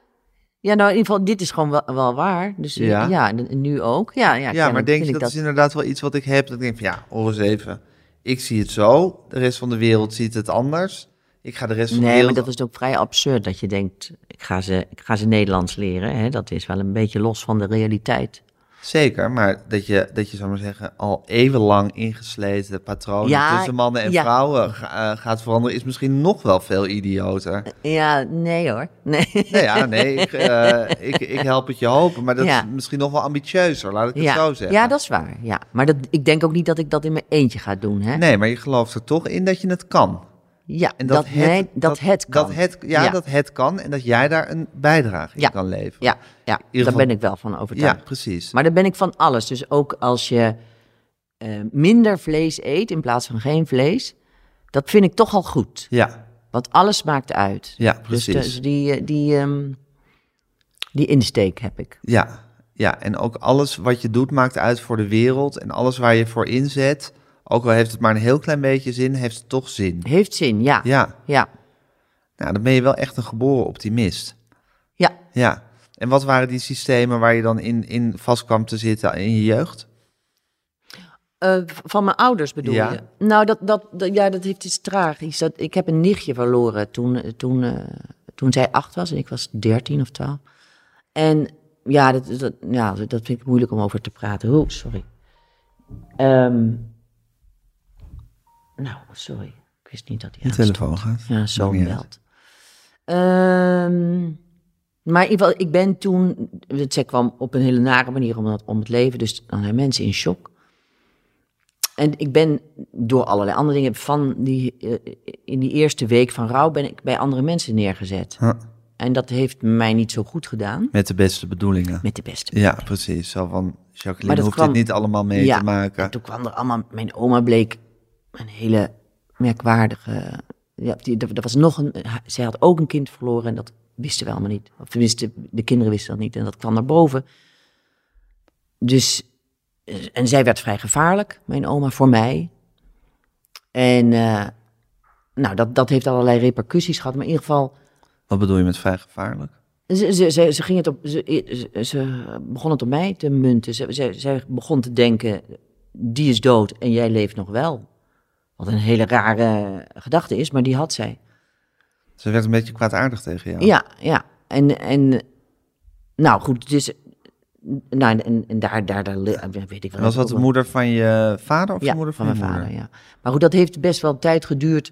[SPEAKER 3] Ja, nou in ieder geval, dit is gewoon wel, wel waar. Dus
[SPEAKER 2] Ja.
[SPEAKER 3] ja, en- en nu ook. Ja, ja,
[SPEAKER 2] Ja, maar
[SPEAKER 3] kennelijk
[SPEAKER 2] denk
[SPEAKER 3] vind
[SPEAKER 2] je,
[SPEAKER 3] ik
[SPEAKER 2] dat, is inderdaad wel iets wat ik heb. Dat ik denk van, ja, hoor eens even. Ik zie het zo, de rest van de wereld ziet het anders. Ik ga de rest van de
[SPEAKER 3] Nee, maar
[SPEAKER 2] wereld...
[SPEAKER 3] dat is ook vrij absurd dat je denkt, ik ga ze, ik ga ze Nederlands leren. Hè? Dat is wel een beetje los van de realiteit.
[SPEAKER 2] Zeker, maar dat je, dat je, zou maar zeggen, al eeuwenlang ingesleten patronen
[SPEAKER 3] Ja,
[SPEAKER 2] tussen mannen en
[SPEAKER 3] ja.
[SPEAKER 2] vrouwen ga- eh, gaat veranderen, is misschien nog wel veel idioter.
[SPEAKER 3] Ja, nee hoor. Nee.
[SPEAKER 2] Nou ja, nee, ik, eh, ik, ik help het je hopen, maar dat
[SPEAKER 3] Ja.
[SPEAKER 2] is misschien nog wel ambitieuzer, laat ik het
[SPEAKER 3] ja.
[SPEAKER 2] zo zeggen.
[SPEAKER 3] ja, dat is waar. Ja. Maar dat, ik denk ook niet dat ik dat in mijn eentje ga doen. Hè?
[SPEAKER 2] Nee, maar je gelooft er toch in dat je het kan.
[SPEAKER 3] Ja,
[SPEAKER 2] En
[SPEAKER 3] dat, nee, dat, het kan.
[SPEAKER 2] Dat het, ja, dat het kan en dat jij daar een bijdrage in
[SPEAKER 3] Ja.
[SPEAKER 2] kan leveren.
[SPEAKER 3] ja, ja
[SPEAKER 2] ieder
[SPEAKER 3] daar
[SPEAKER 2] geval-
[SPEAKER 3] ben ik wel van
[SPEAKER 2] Ja,
[SPEAKER 3] overtuigd.
[SPEAKER 2] precies.
[SPEAKER 3] Maar daar ben ik van alles. Dus ook als je eh, minder vlees eet in plaats van geen vlees, dat vind ik toch al goed.
[SPEAKER 2] Ja,
[SPEAKER 3] Want alles maakt uit.
[SPEAKER 2] ja,
[SPEAKER 3] Dus
[SPEAKER 2] precies.
[SPEAKER 3] de- Dus die, eh, die, ehm, die insteek heb ik.
[SPEAKER 2] Ja, ja, en ook alles wat je doet maakt uit voor de wereld. En alles waar je voor inzet, ook al heeft het maar een heel klein beetje zin, heeft het toch zin.
[SPEAKER 3] Heeft zin, ja. Ja,
[SPEAKER 2] Ja,
[SPEAKER 3] ja.
[SPEAKER 2] nou, dan ben je wel echt een geboren optimist. Ja. En wat waren die systemen waar je dan in, in vast kwam te zitten in je jeugd?
[SPEAKER 3] Eh, v- van mijn ouders bedoel
[SPEAKER 2] Ja.
[SPEAKER 3] je? Nou, dat, dat, dat- ja, dat heeft iets tragisch. Dat, ik heb een nichtje verloren toen, eh, toen, eh, toen zij acht was en ik was dertien of twaalf. En ja dat, dat, ja, dat vind ik moeilijk om over te praten. Oh, sorry. Ehm, nou, sorry. Ik wist niet dat hij aan stond.
[SPEAKER 2] gaat.
[SPEAKER 3] Ja, zo
[SPEAKER 2] Maakt niet
[SPEAKER 3] meld. Ehm, maar in ieder geval, ik ben toen... want Zij kwam op een hele nare manier om, dat, om het leven. Dus dan zijn mensen in shock. En ik ben door allerlei andere dingen... Van die, eh, in die eerste week van rouw ben ik bij andere mensen neergezet.
[SPEAKER 2] Huh.
[SPEAKER 3] En dat heeft mij niet zo goed gedaan.
[SPEAKER 2] Met de beste bedoelingen.
[SPEAKER 3] Met de beste.
[SPEAKER 2] Ja, precies. Zo van, Jacqueline
[SPEAKER 3] Maar dat
[SPEAKER 2] hoeft
[SPEAKER 3] kwam-
[SPEAKER 2] dit niet allemaal mee
[SPEAKER 3] Ja,
[SPEAKER 2] te
[SPEAKER 3] En
[SPEAKER 2] maken.
[SPEAKER 3] toen kwam er allemaal, mijn oma bleek een hele merkwaardige. Ja, die, er, er was nog een. Zij had ook een kind verloren en dat wisten we allemaal niet. Of tenminste, de kinderen wisten dat niet en dat kwam naar boven. Dus. eh, En zij werd vrij gevaarlijk, mijn oma, voor mij. En. eh, nou, dat, dat heeft allerlei repercussies gehad. Maar in ieder geval.
[SPEAKER 2] Wat bedoel je met vrij gevaarlijk?
[SPEAKER 3] Ze, ze, ze, ze ging het op, ze, ze- ze begon het op mij te munten. Ze, ze, zij begon te denken, die is dood en jij leeft nog wel. Wat een hele rare gedachte is, maar die had zij.
[SPEAKER 2] Oh. Ze werd een beetje kwaadaardig tegen jou.
[SPEAKER 3] Ja, ja. En, en nou goed, dus... Nou, en, en daar, daar, daar, weet ik wel.
[SPEAKER 2] En was dat de moeder van je vader of
[SPEAKER 3] ja,
[SPEAKER 2] de moeder van,
[SPEAKER 3] van,
[SPEAKER 2] je
[SPEAKER 3] mijn
[SPEAKER 2] moeder?
[SPEAKER 3] vader, ja. Maar goed, dat heeft best wel tijd geduurd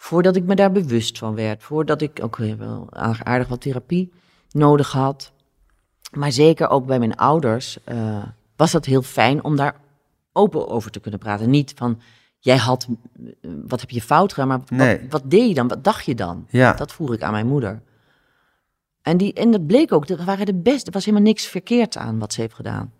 [SPEAKER 3] voordat ik me daar bewust van werd. Voordat ik ook weer wel aardig aardig wat therapie nodig had. Maar zeker ook bij mijn ouders eh, was dat heel fijn om daar open over te kunnen praten. Niet van, jij had, eh, wat heb je fout gedaan, maar wat,
[SPEAKER 2] Nee.
[SPEAKER 3] wat deed je dan? Wat dacht je dan?
[SPEAKER 2] Ja.
[SPEAKER 3] Dat vroeg ik aan mijn moeder. En, die, en dat bleek ook, er waren de beste, er was helemaal niks verkeerd aan wat ze heeft gedaan.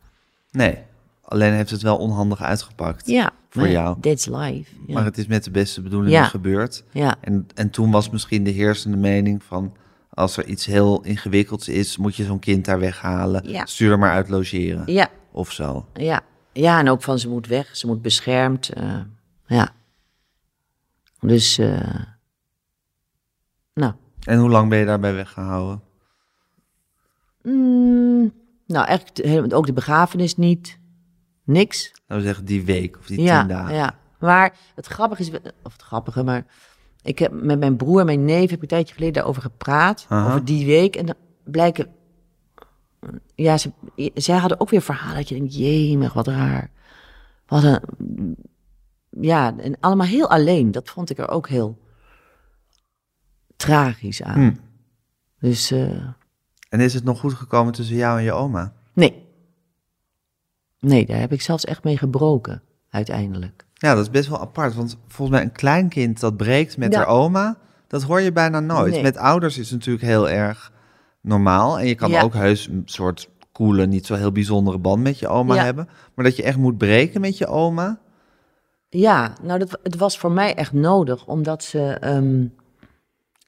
[SPEAKER 2] Nee, alleen heeft het wel onhandig uitgepakt.
[SPEAKER 3] Ja,
[SPEAKER 2] Voor
[SPEAKER 3] maar
[SPEAKER 2] jou.
[SPEAKER 3] That's life. Ja.
[SPEAKER 2] Maar het is met de beste bedoelingen
[SPEAKER 3] Ja.
[SPEAKER 2] gebeurd.
[SPEAKER 3] ja.
[SPEAKER 2] En, en toen was misschien de heersende mening van... als er iets heel ingewikkelds is, moet je zo'n kind daar weghalen.
[SPEAKER 3] Ja.
[SPEAKER 2] Stuur er maar uit logeren.
[SPEAKER 3] Ja,
[SPEAKER 2] Of zo.
[SPEAKER 3] ja. Ja, en ook van ze moet weg, ze moet beschermd. eh, ja. Dus, eh, nou.
[SPEAKER 2] En hoe lang ben je daarbij weggehouden?
[SPEAKER 3] Mm, nou, eigenlijk de- helemaal- ook de begrafenis niet. Niks.
[SPEAKER 2] Laten we zeggen Nou, die week of die
[SPEAKER 3] ja,
[SPEAKER 2] tien dagen.
[SPEAKER 3] ja. Maar het grappige is, wel- of het grappige, maar ik heb met mijn broer en mijn neef heb ik een tijdje geleden daarover gepraat.
[SPEAKER 2] Aha.
[SPEAKER 3] Over die week. En dan blijken, ja, ze, zij hadden ook weer verhalen dat je denkt, jemig, wat raar. Wat een, ja, en allemaal heel alleen. Dat vond ik er ook heel tragisch aan.
[SPEAKER 2] Hm.
[SPEAKER 3] Dus, eh,
[SPEAKER 2] En is het nog goed gekomen tussen jou en je oma?
[SPEAKER 3] nee. Nee, daar heb ik zelfs echt mee gebroken, uiteindelijk.
[SPEAKER 2] Ja, dat is best wel apart. Want volgens mij een kleinkind dat breekt met
[SPEAKER 3] Ja.
[SPEAKER 2] haar oma, dat hoor je bijna nooit.
[SPEAKER 3] Nee.
[SPEAKER 2] Met ouders is het natuurlijk heel erg normaal. En je kan
[SPEAKER 3] Ja.
[SPEAKER 2] ook heus een soort coole, niet zo heel bijzondere band met je oma
[SPEAKER 3] Ja.
[SPEAKER 2] hebben. Maar dat je echt moet breken met je oma.
[SPEAKER 3] Ja, nou, dat, het was voor mij echt nodig, omdat ze. ehm,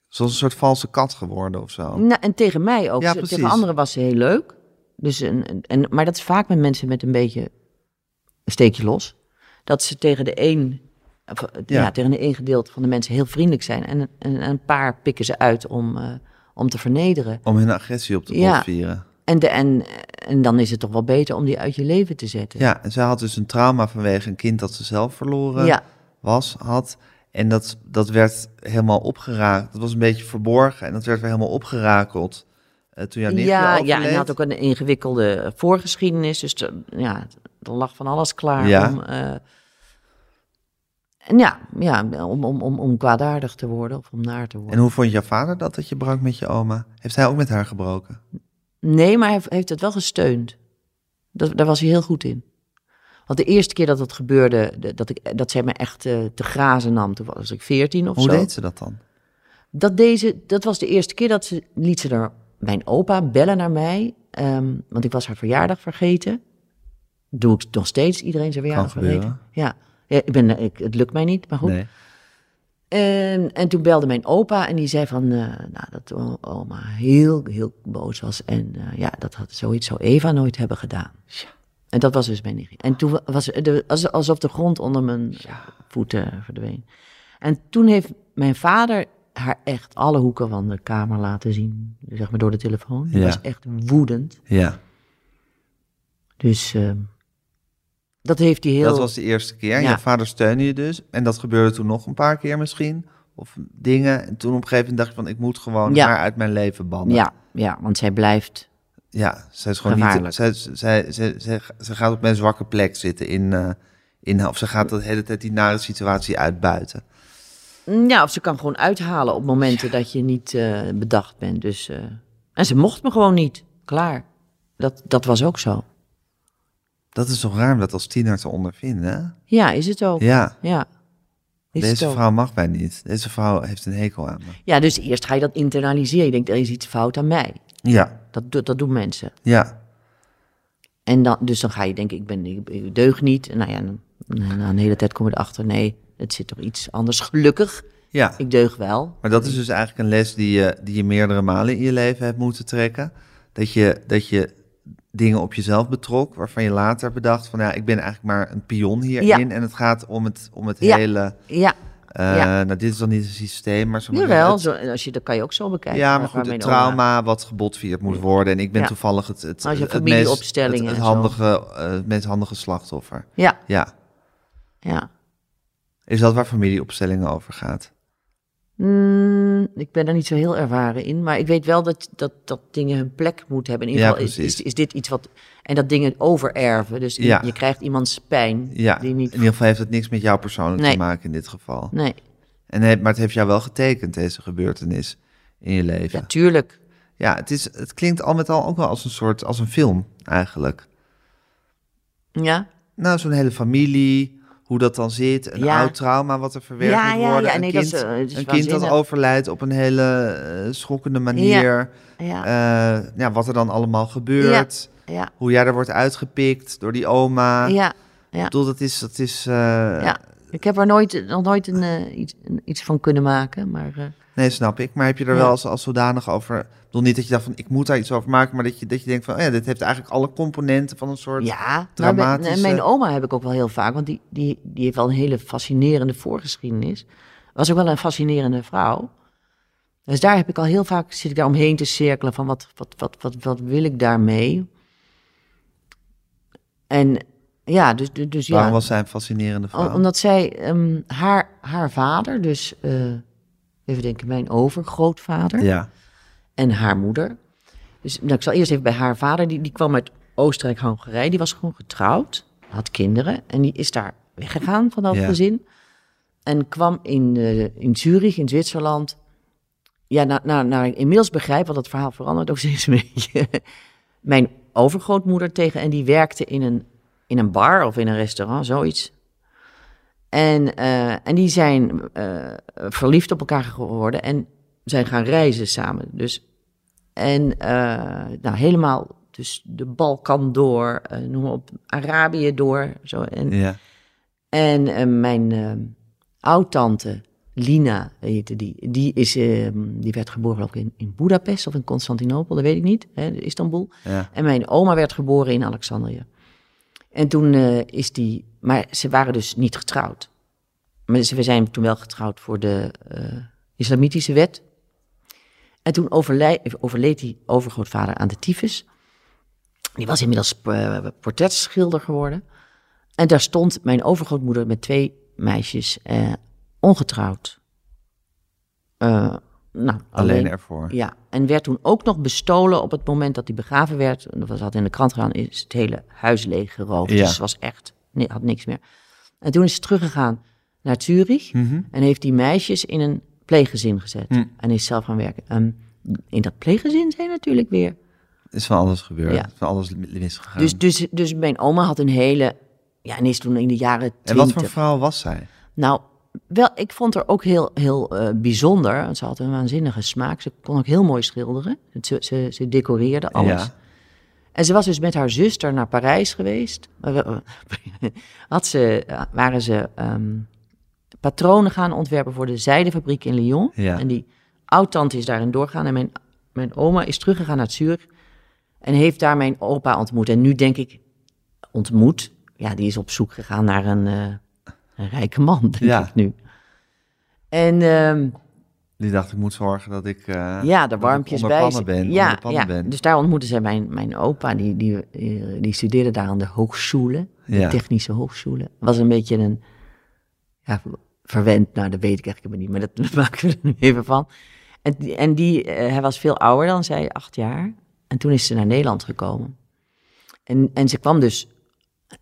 [SPEAKER 2] Zoals een soort valse kat geworden of zo.
[SPEAKER 3] nou, en tegen mij ook.
[SPEAKER 2] Oh. Ja,
[SPEAKER 3] Ze- tegen
[SPEAKER 2] precies.
[SPEAKER 3] anderen was ze heel leuk. Dus een, een- en, maar dat is vaak met mensen met een beetje een steekje los. Dat ze tegen de een, of, eh, ja.
[SPEAKER 2] Ja.
[SPEAKER 3] tegen de een gedeelte van de mensen heel vriendelijk zijn. En, en, en een paar pikken ze uit om, eh, om te vernederen.
[SPEAKER 2] Om hun agressie op te
[SPEAKER 3] Ja.
[SPEAKER 2] botvieren.
[SPEAKER 3] En, de, en, en dan is het toch wel beter om die uit je leven te zetten.
[SPEAKER 2] Ja, en zij had dus een trauma vanwege een kind dat ze zelf verloren
[SPEAKER 3] Ja.
[SPEAKER 2] was, had. En dat, dat werd helemaal opgeraakt. Dat was een beetje verborgen en dat werd weer helemaal opgerakeld eh, toen jouw nicht
[SPEAKER 3] ja,
[SPEAKER 2] weer
[SPEAKER 3] ja, en
[SPEAKER 2] overleed.
[SPEAKER 3] hij had ook een ingewikkelde voorgeschiedenis. Dus er- ja, er lag van alles klaar
[SPEAKER 2] Ja.
[SPEAKER 3] om... eh, en ja, ja om, om, om, om kwaadaardig te worden of om naar te
[SPEAKER 2] En
[SPEAKER 3] worden.
[SPEAKER 2] hoe vond jouw vader dat, dat je brak met je oma? Heeft hij ook met haar gebroken?
[SPEAKER 3] Nee, maar hij heeft- heeft het wel gesteund. Dat, daar was hij heel goed in. Want de eerste keer dat dat gebeurde, de- dat, ik, dat zij me echt eh, te grazen nam, toen was ik veertien of
[SPEAKER 2] Hoe
[SPEAKER 3] zo.
[SPEAKER 2] deed ze dat dan?
[SPEAKER 3] dat, deze, dat was de eerste keer dat ze liet ze naar mijn opa bellen naar mij. ehm, want ik was haar verjaardag vergeten. Doe ik nog steeds iedereen zijn verjaardag vergeten.
[SPEAKER 2] gebeuren.
[SPEAKER 3] Ja, ja ik ben, ik, het lukt mij niet, maar goed.
[SPEAKER 2] Nee.
[SPEAKER 3] En, en toen belde mijn opa en die zei van, eh, nou, dat o- oma heel, heel boos was. En eh, ja, dat had zoiets zou Eva nooit hebben gedaan. En dat was dus mijn nicht. En toen was het de- als- alsof de grond onder mijn voeten verdween. En toen heeft mijn vader haar echt alle hoeken van de kamer laten zien. Zeg maar door de telefoon. Die
[SPEAKER 2] Ja.
[SPEAKER 3] was echt woedend.
[SPEAKER 2] Ja,
[SPEAKER 3] Dus ehm, dat heeft hij heel...
[SPEAKER 2] dat was de eerste keer. En
[SPEAKER 3] Ja.
[SPEAKER 2] Jouw vader steunde je dus. En dat gebeurde toen nog een paar keer misschien. Of dingen. En toen op een gegeven moment dacht je van, ik moet gewoon
[SPEAKER 3] Ja.
[SPEAKER 2] haar uit mijn leven bannen.
[SPEAKER 3] ja, ja, want zij blijft...
[SPEAKER 2] Ja, zij is gewoon niet.
[SPEAKER 3] Gevaarlijk.
[SPEAKER 2] Zij, zij, zij, zij, zij gaat op mijn zwakke plek zitten in. eh, in of ze gaat de hele tijd die nare situatie uitbuiten.
[SPEAKER 3] Mm, Ja, of ze kan gewoon uithalen op momenten dat je niet eh, bedacht bent. Dus, eh, en ze mocht me gewoon niet. Klaar. Dat, dat was ook zo.
[SPEAKER 2] Dat is toch raar om dat als tiener te ondervinden? Hè?
[SPEAKER 3] Ja, is het ook. Ja.
[SPEAKER 2] Ja,
[SPEAKER 3] Is het
[SPEAKER 2] deze
[SPEAKER 3] ook.
[SPEAKER 2] vrouw mag mij niet. Deze vrouw heeft een hekel aan me.
[SPEAKER 3] Ja, dus eerst ga je dat internaliseren. Je denkt, er is iets fout aan mij.
[SPEAKER 2] Ja,
[SPEAKER 3] Dat, do- dat doen mensen.
[SPEAKER 2] ja.
[SPEAKER 3] En dan, dus dan ga je denken, ik ben ik, ik deug niet. En nou ja, dan- na een hele tijd kom je erachter. Nee, het zit toch iets anders. Gelukkig,
[SPEAKER 2] ja.
[SPEAKER 3] ik deug wel.
[SPEAKER 2] Maar dat is dus eigenlijk een les die je, die je meerdere malen in je leven hebt moeten trekken. Dat je, dat je dingen op jezelf betrok, waarvan je later bedacht van ja, ik ben eigenlijk maar een pion hierin. En het gaat om het, om het
[SPEAKER 3] Ja.
[SPEAKER 2] hele
[SPEAKER 3] Ja,
[SPEAKER 2] Eh,
[SPEAKER 3] Ja.
[SPEAKER 2] Nou, dit is dan niet een systeem, maar zo
[SPEAKER 3] Jawel, zo, en als je, dat kan je ook zo bekijken.
[SPEAKER 2] Ja, maar
[SPEAKER 3] waar-
[SPEAKER 2] goed,
[SPEAKER 3] waarmee
[SPEAKER 2] het
[SPEAKER 3] omgaan.
[SPEAKER 2] trauma wat gebotvierd moet worden. En ik ben
[SPEAKER 3] Ja.
[SPEAKER 2] toevallig het, het,
[SPEAKER 3] Als je
[SPEAKER 2] het, het, meest, het,
[SPEAKER 3] familieopstellingen
[SPEAKER 2] het
[SPEAKER 3] en zo.
[SPEAKER 2] handige, eh, het meest handige slachtoffer.
[SPEAKER 3] Ja,
[SPEAKER 2] Ja.
[SPEAKER 3] ja.
[SPEAKER 2] Is dat waar familieopstellingen over gaat?
[SPEAKER 3] Mm, ik ben er niet zo heel ervaren in, maar ik weet wel dat, dat, dat dingen hun plek moeten hebben. In ieder
[SPEAKER 2] Ja,
[SPEAKER 3] geval is, is,
[SPEAKER 2] precies.
[SPEAKER 3] is dit iets wat... En dat dingen overerven, dus i-
[SPEAKER 2] Ja.
[SPEAKER 3] je krijgt iemands pijn
[SPEAKER 2] Ja,
[SPEAKER 3] die
[SPEAKER 2] in
[SPEAKER 3] niet...
[SPEAKER 2] ieder geval heeft het niks met jou persoonlijk
[SPEAKER 3] Nee.
[SPEAKER 2] te maken in dit geval.
[SPEAKER 3] Nee,
[SPEAKER 2] En, he- maar het heeft jou wel getekend, deze gebeurtenis in je leven. Ja,
[SPEAKER 3] natuurlijk.
[SPEAKER 2] het, is, het klinkt al met al ook wel als een soort, als een film eigenlijk.
[SPEAKER 3] Ja,
[SPEAKER 2] Nou, zo'n hele familie, hoe dat dan zit, een
[SPEAKER 3] Ja.
[SPEAKER 2] oud trauma wat er verwerkt
[SPEAKER 3] Ja,
[SPEAKER 2] moet
[SPEAKER 3] ja,
[SPEAKER 2] worden.
[SPEAKER 3] ja, nee,
[SPEAKER 2] een
[SPEAKER 3] dat
[SPEAKER 2] kind,
[SPEAKER 3] is, eh, het is
[SPEAKER 2] een kind dat
[SPEAKER 3] waanzinnig.
[SPEAKER 2] overlijdt op een hele eh, schokkende manier.
[SPEAKER 3] ja,
[SPEAKER 2] Eh, Ja. ja, wat er dan allemaal gebeurt.
[SPEAKER 3] ja,
[SPEAKER 2] Hoe jij er wordt uitgepikt door die oma.
[SPEAKER 3] ja,
[SPEAKER 2] Ik bedoel, dat is... Dat is eh,
[SPEAKER 3] ja. Ik heb er nooit, nog nooit een, eh, iets, een- iets van kunnen maken, maar... eh,
[SPEAKER 2] Nee, snap ik. Maar heb je er
[SPEAKER 3] Ja.
[SPEAKER 2] wel als, als zodanig over... Ik bedoel niet dat je dacht van, ik moet daar iets over maken... maar dat je, dat je denkt van, oh ja, dit heeft eigenlijk alle componenten van een soort...
[SPEAKER 3] Ja, maar mijn,
[SPEAKER 2] dramatische-
[SPEAKER 3] nee, mijn oma heb ik ook wel heel vaak, want die, die, die heeft wel een hele fascinerende voorgeschiedenis. Was ook wel een fascinerende vrouw. Dus daar heb ik al heel vaak, zit ik daar omheen te cirkelen van wat, wat, wat, wat, wat wil ik daarmee? En ja, dus, dus dus
[SPEAKER 2] Waarom
[SPEAKER 3] ja,
[SPEAKER 2] was zij een fascinerende vrouw?
[SPEAKER 3] Om- omdat zij, ehm, haar, haar vader, dus eh, even denken, mijn overgrootvader
[SPEAKER 2] Ja,
[SPEAKER 3] en haar moeder. Dus nou, ik zal eerst even bij haar vader. Die, die kwam uit Oostenrijk-Hongarije. Die was gewoon getrouwd, had kinderen. En die is daar weggegaan van dat
[SPEAKER 2] Ja.
[SPEAKER 3] gezin. En kwam in, eh, in Zurich, in Zwitserland. Ja, naar na, na, ik inmiddels begrijp, want dat verhaal verandert ook steeds een beetje. Mijn overgrootmoeder tegen. En die werkte in een, in een bar of in een restaurant, zoiets. En, eh, en die zijn eh, verliefd op elkaar geworden en zijn gaan reizen samen. Dus, en eh, nou, helemaal dus de Balkan door, eh, noem maar op, Arabië door. Zo. En,
[SPEAKER 2] ja.
[SPEAKER 3] en eh, mijn eh, oud-tante, Lina heette die, die, is, eh, die werd geboren geloof ik in, in Budapest of in Constantinopel, dat weet ik niet, hè, Istanbul.
[SPEAKER 2] ja.
[SPEAKER 3] En mijn oma werd geboren in Alexandrië. En toen eh, is die. Maar ze waren dus niet getrouwd. Maar ze, we zijn toen wel getrouwd voor de eh, islamitische wet. En toen overlij- overleed die overgrootvader aan de tyfus. Die was inmiddels eh, portretschilder geworden. En daar stond mijn overgrootmoeder met twee meisjes eh, ongetrouwd. Eh, nou,
[SPEAKER 2] Alleen ervoor.
[SPEAKER 3] ja, en werd toen ook nog bestolen op het moment dat hij begraven werd. En Dat had in de krant gedaan, is het hele huis leeg geroofd.
[SPEAKER 2] Ja.
[SPEAKER 3] Dus het was echt, nee, had niks meer. En toen is ze teruggegaan naar Zurich
[SPEAKER 2] Mhm.
[SPEAKER 3] en heeft die meisjes in een pleeggezin gezet.
[SPEAKER 2] Mm.
[SPEAKER 3] En is zelf gaan werken. En in dat pleeggezin zijn natuurlijk weer.
[SPEAKER 2] Is van alles gebeurd.
[SPEAKER 3] Ja.
[SPEAKER 2] Is van alles misgegaan.
[SPEAKER 3] Dus, dus, dus mijn oma had een hele, ja, en is toen in de jaren
[SPEAKER 2] en wat voor
[SPEAKER 3] twintig.
[SPEAKER 2] vrouw was zij?
[SPEAKER 3] Nou, wel, ik vond haar ook heel, heel eh, bijzonder. want Ze had een waanzinnige smaak. Ze kon ook heel mooi schilderen. Ze, ze, ze decoreerde alles.
[SPEAKER 2] Ja.
[SPEAKER 3] En ze was dus met haar zuster naar Parijs geweest. eh, Had ze, eh, waren ze ehm, patronen gaan ontwerpen voor de zijdefabriek in Lyon.
[SPEAKER 2] Ja.
[SPEAKER 3] En die oud-tante is daarin doorgaan. En mijn, mijn oma is teruggegaan naar Zurich. En heeft daar mijn opa ontmoet. En nu denk ik, ontmoet? Ja, die is op zoek gegaan naar een, eh, een rijke man, denk
[SPEAKER 2] Ja.
[SPEAKER 3] ik nu. En ehm,
[SPEAKER 2] Die dacht, ik moet zorgen dat ik... eh,
[SPEAKER 3] ja,
[SPEAKER 2] dat
[SPEAKER 3] de
[SPEAKER 2] ik
[SPEAKER 3] warmpjes
[SPEAKER 2] onder
[SPEAKER 3] bij.
[SPEAKER 2] pannen ben.
[SPEAKER 3] ja,
[SPEAKER 2] onder pannen
[SPEAKER 3] ja.
[SPEAKER 2] ben.
[SPEAKER 3] dus daar ontmoette zij mijn, mijn opa. Die, die, eh, die studeerde daar aan de hoogschule, de
[SPEAKER 2] Ja.
[SPEAKER 3] technische hoogschule. Was een beetje een, ja, verwend, nou dat weet ik eigenlijk helemaal niet, maar dat maken we er nu even van. En, die- en die, eh, hij was veel ouder dan zij, acht jaar. En toen is ze naar Nederland gekomen. En, en ze kwam dus,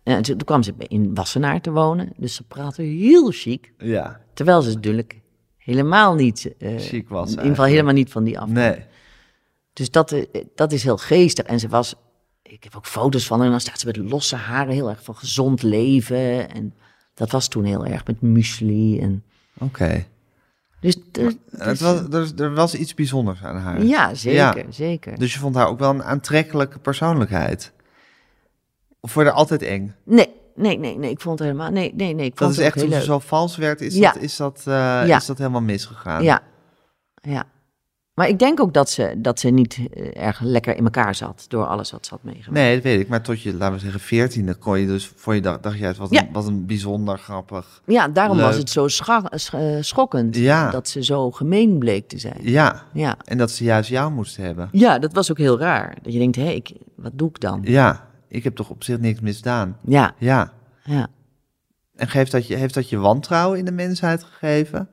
[SPEAKER 3] en toen kwam ze in Wassenaar te wonen. Dus ze praatte heel chic,
[SPEAKER 2] ja,
[SPEAKER 3] terwijl ze dus natuurlijk helemaal niet... eh,
[SPEAKER 2] chic was
[SPEAKER 3] in
[SPEAKER 2] zij
[SPEAKER 3] ieder geval helemaal niet van die af.
[SPEAKER 2] Nee.
[SPEAKER 3] Dus dat, eh, dat is heel geestig. En ze was, ik heb ook foto's van haar, en dan staat ze met losse haren heel erg van gezond leven. En dat was toen heel erg met muesli. En,
[SPEAKER 2] Oké.
[SPEAKER 3] dus, eh,
[SPEAKER 2] Het was, er, er was iets bijzonders aan haar.
[SPEAKER 3] ja, zeker,
[SPEAKER 2] Ja.
[SPEAKER 3] zeker.
[SPEAKER 2] Dus je vond haar ook wel een aantrekkelijke persoonlijkheid. Of vond je haar altijd eng?
[SPEAKER 3] Nee, nee, nee, nee, ik vond het helemaal, nee, nee, nee, ik
[SPEAKER 2] Dat
[SPEAKER 3] vond
[SPEAKER 2] is
[SPEAKER 3] het ook
[SPEAKER 2] echt toen
[SPEAKER 3] heel
[SPEAKER 2] ze
[SPEAKER 3] leuk.
[SPEAKER 2] zo vals werd, is,
[SPEAKER 3] Ja.
[SPEAKER 2] dat, is, dat, eh,
[SPEAKER 3] Ja.
[SPEAKER 2] is dat helemaal misgegaan.
[SPEAKER 3] Ja, ja. Maar ik denk ook dat ze, dat ze niet eh, erg lekker in elkaar zat door alles wat ze had meegemaakt.
[SPEAKER 2] Nee, dat weet ik. Maar tot je, laten we zeggen, veertiende kon je dus voor je dag, dacht je, het was
[SPEAKER 3] Ja.
[SPEAKER 2] een, was een bijzonder grappig.
[SPEAKER 3] Ja, daarom
[SPEAKER 2] Leuk.
[SPEAKER 3] was het zo scha- sch- eh, schokkend
[SPEAKER 2] Ja.
[SPEAKER 3] dat ze zo gemeen bleek te zijn.
[SPEAKER 2] Ja.
[SPEAKER 3] Ja.
[SPEAKER 2] En dat ze juist jou moesten hebben.
[SPEAKER 3] ja, dat was ook heel raar. Dat je denkt, hé, ik- wat doe ik dan?
[SPEAKER 2] Ja. Ik heb toch op zich niks misdaan.
[SPEAKER 3] Ja,
[SPEAKER 2] Ja.
[SPEAKER 3] ja.
[SPEAKER 2] En geeft dat je, heeft dat je wantrouwen in de mensheid gegeven?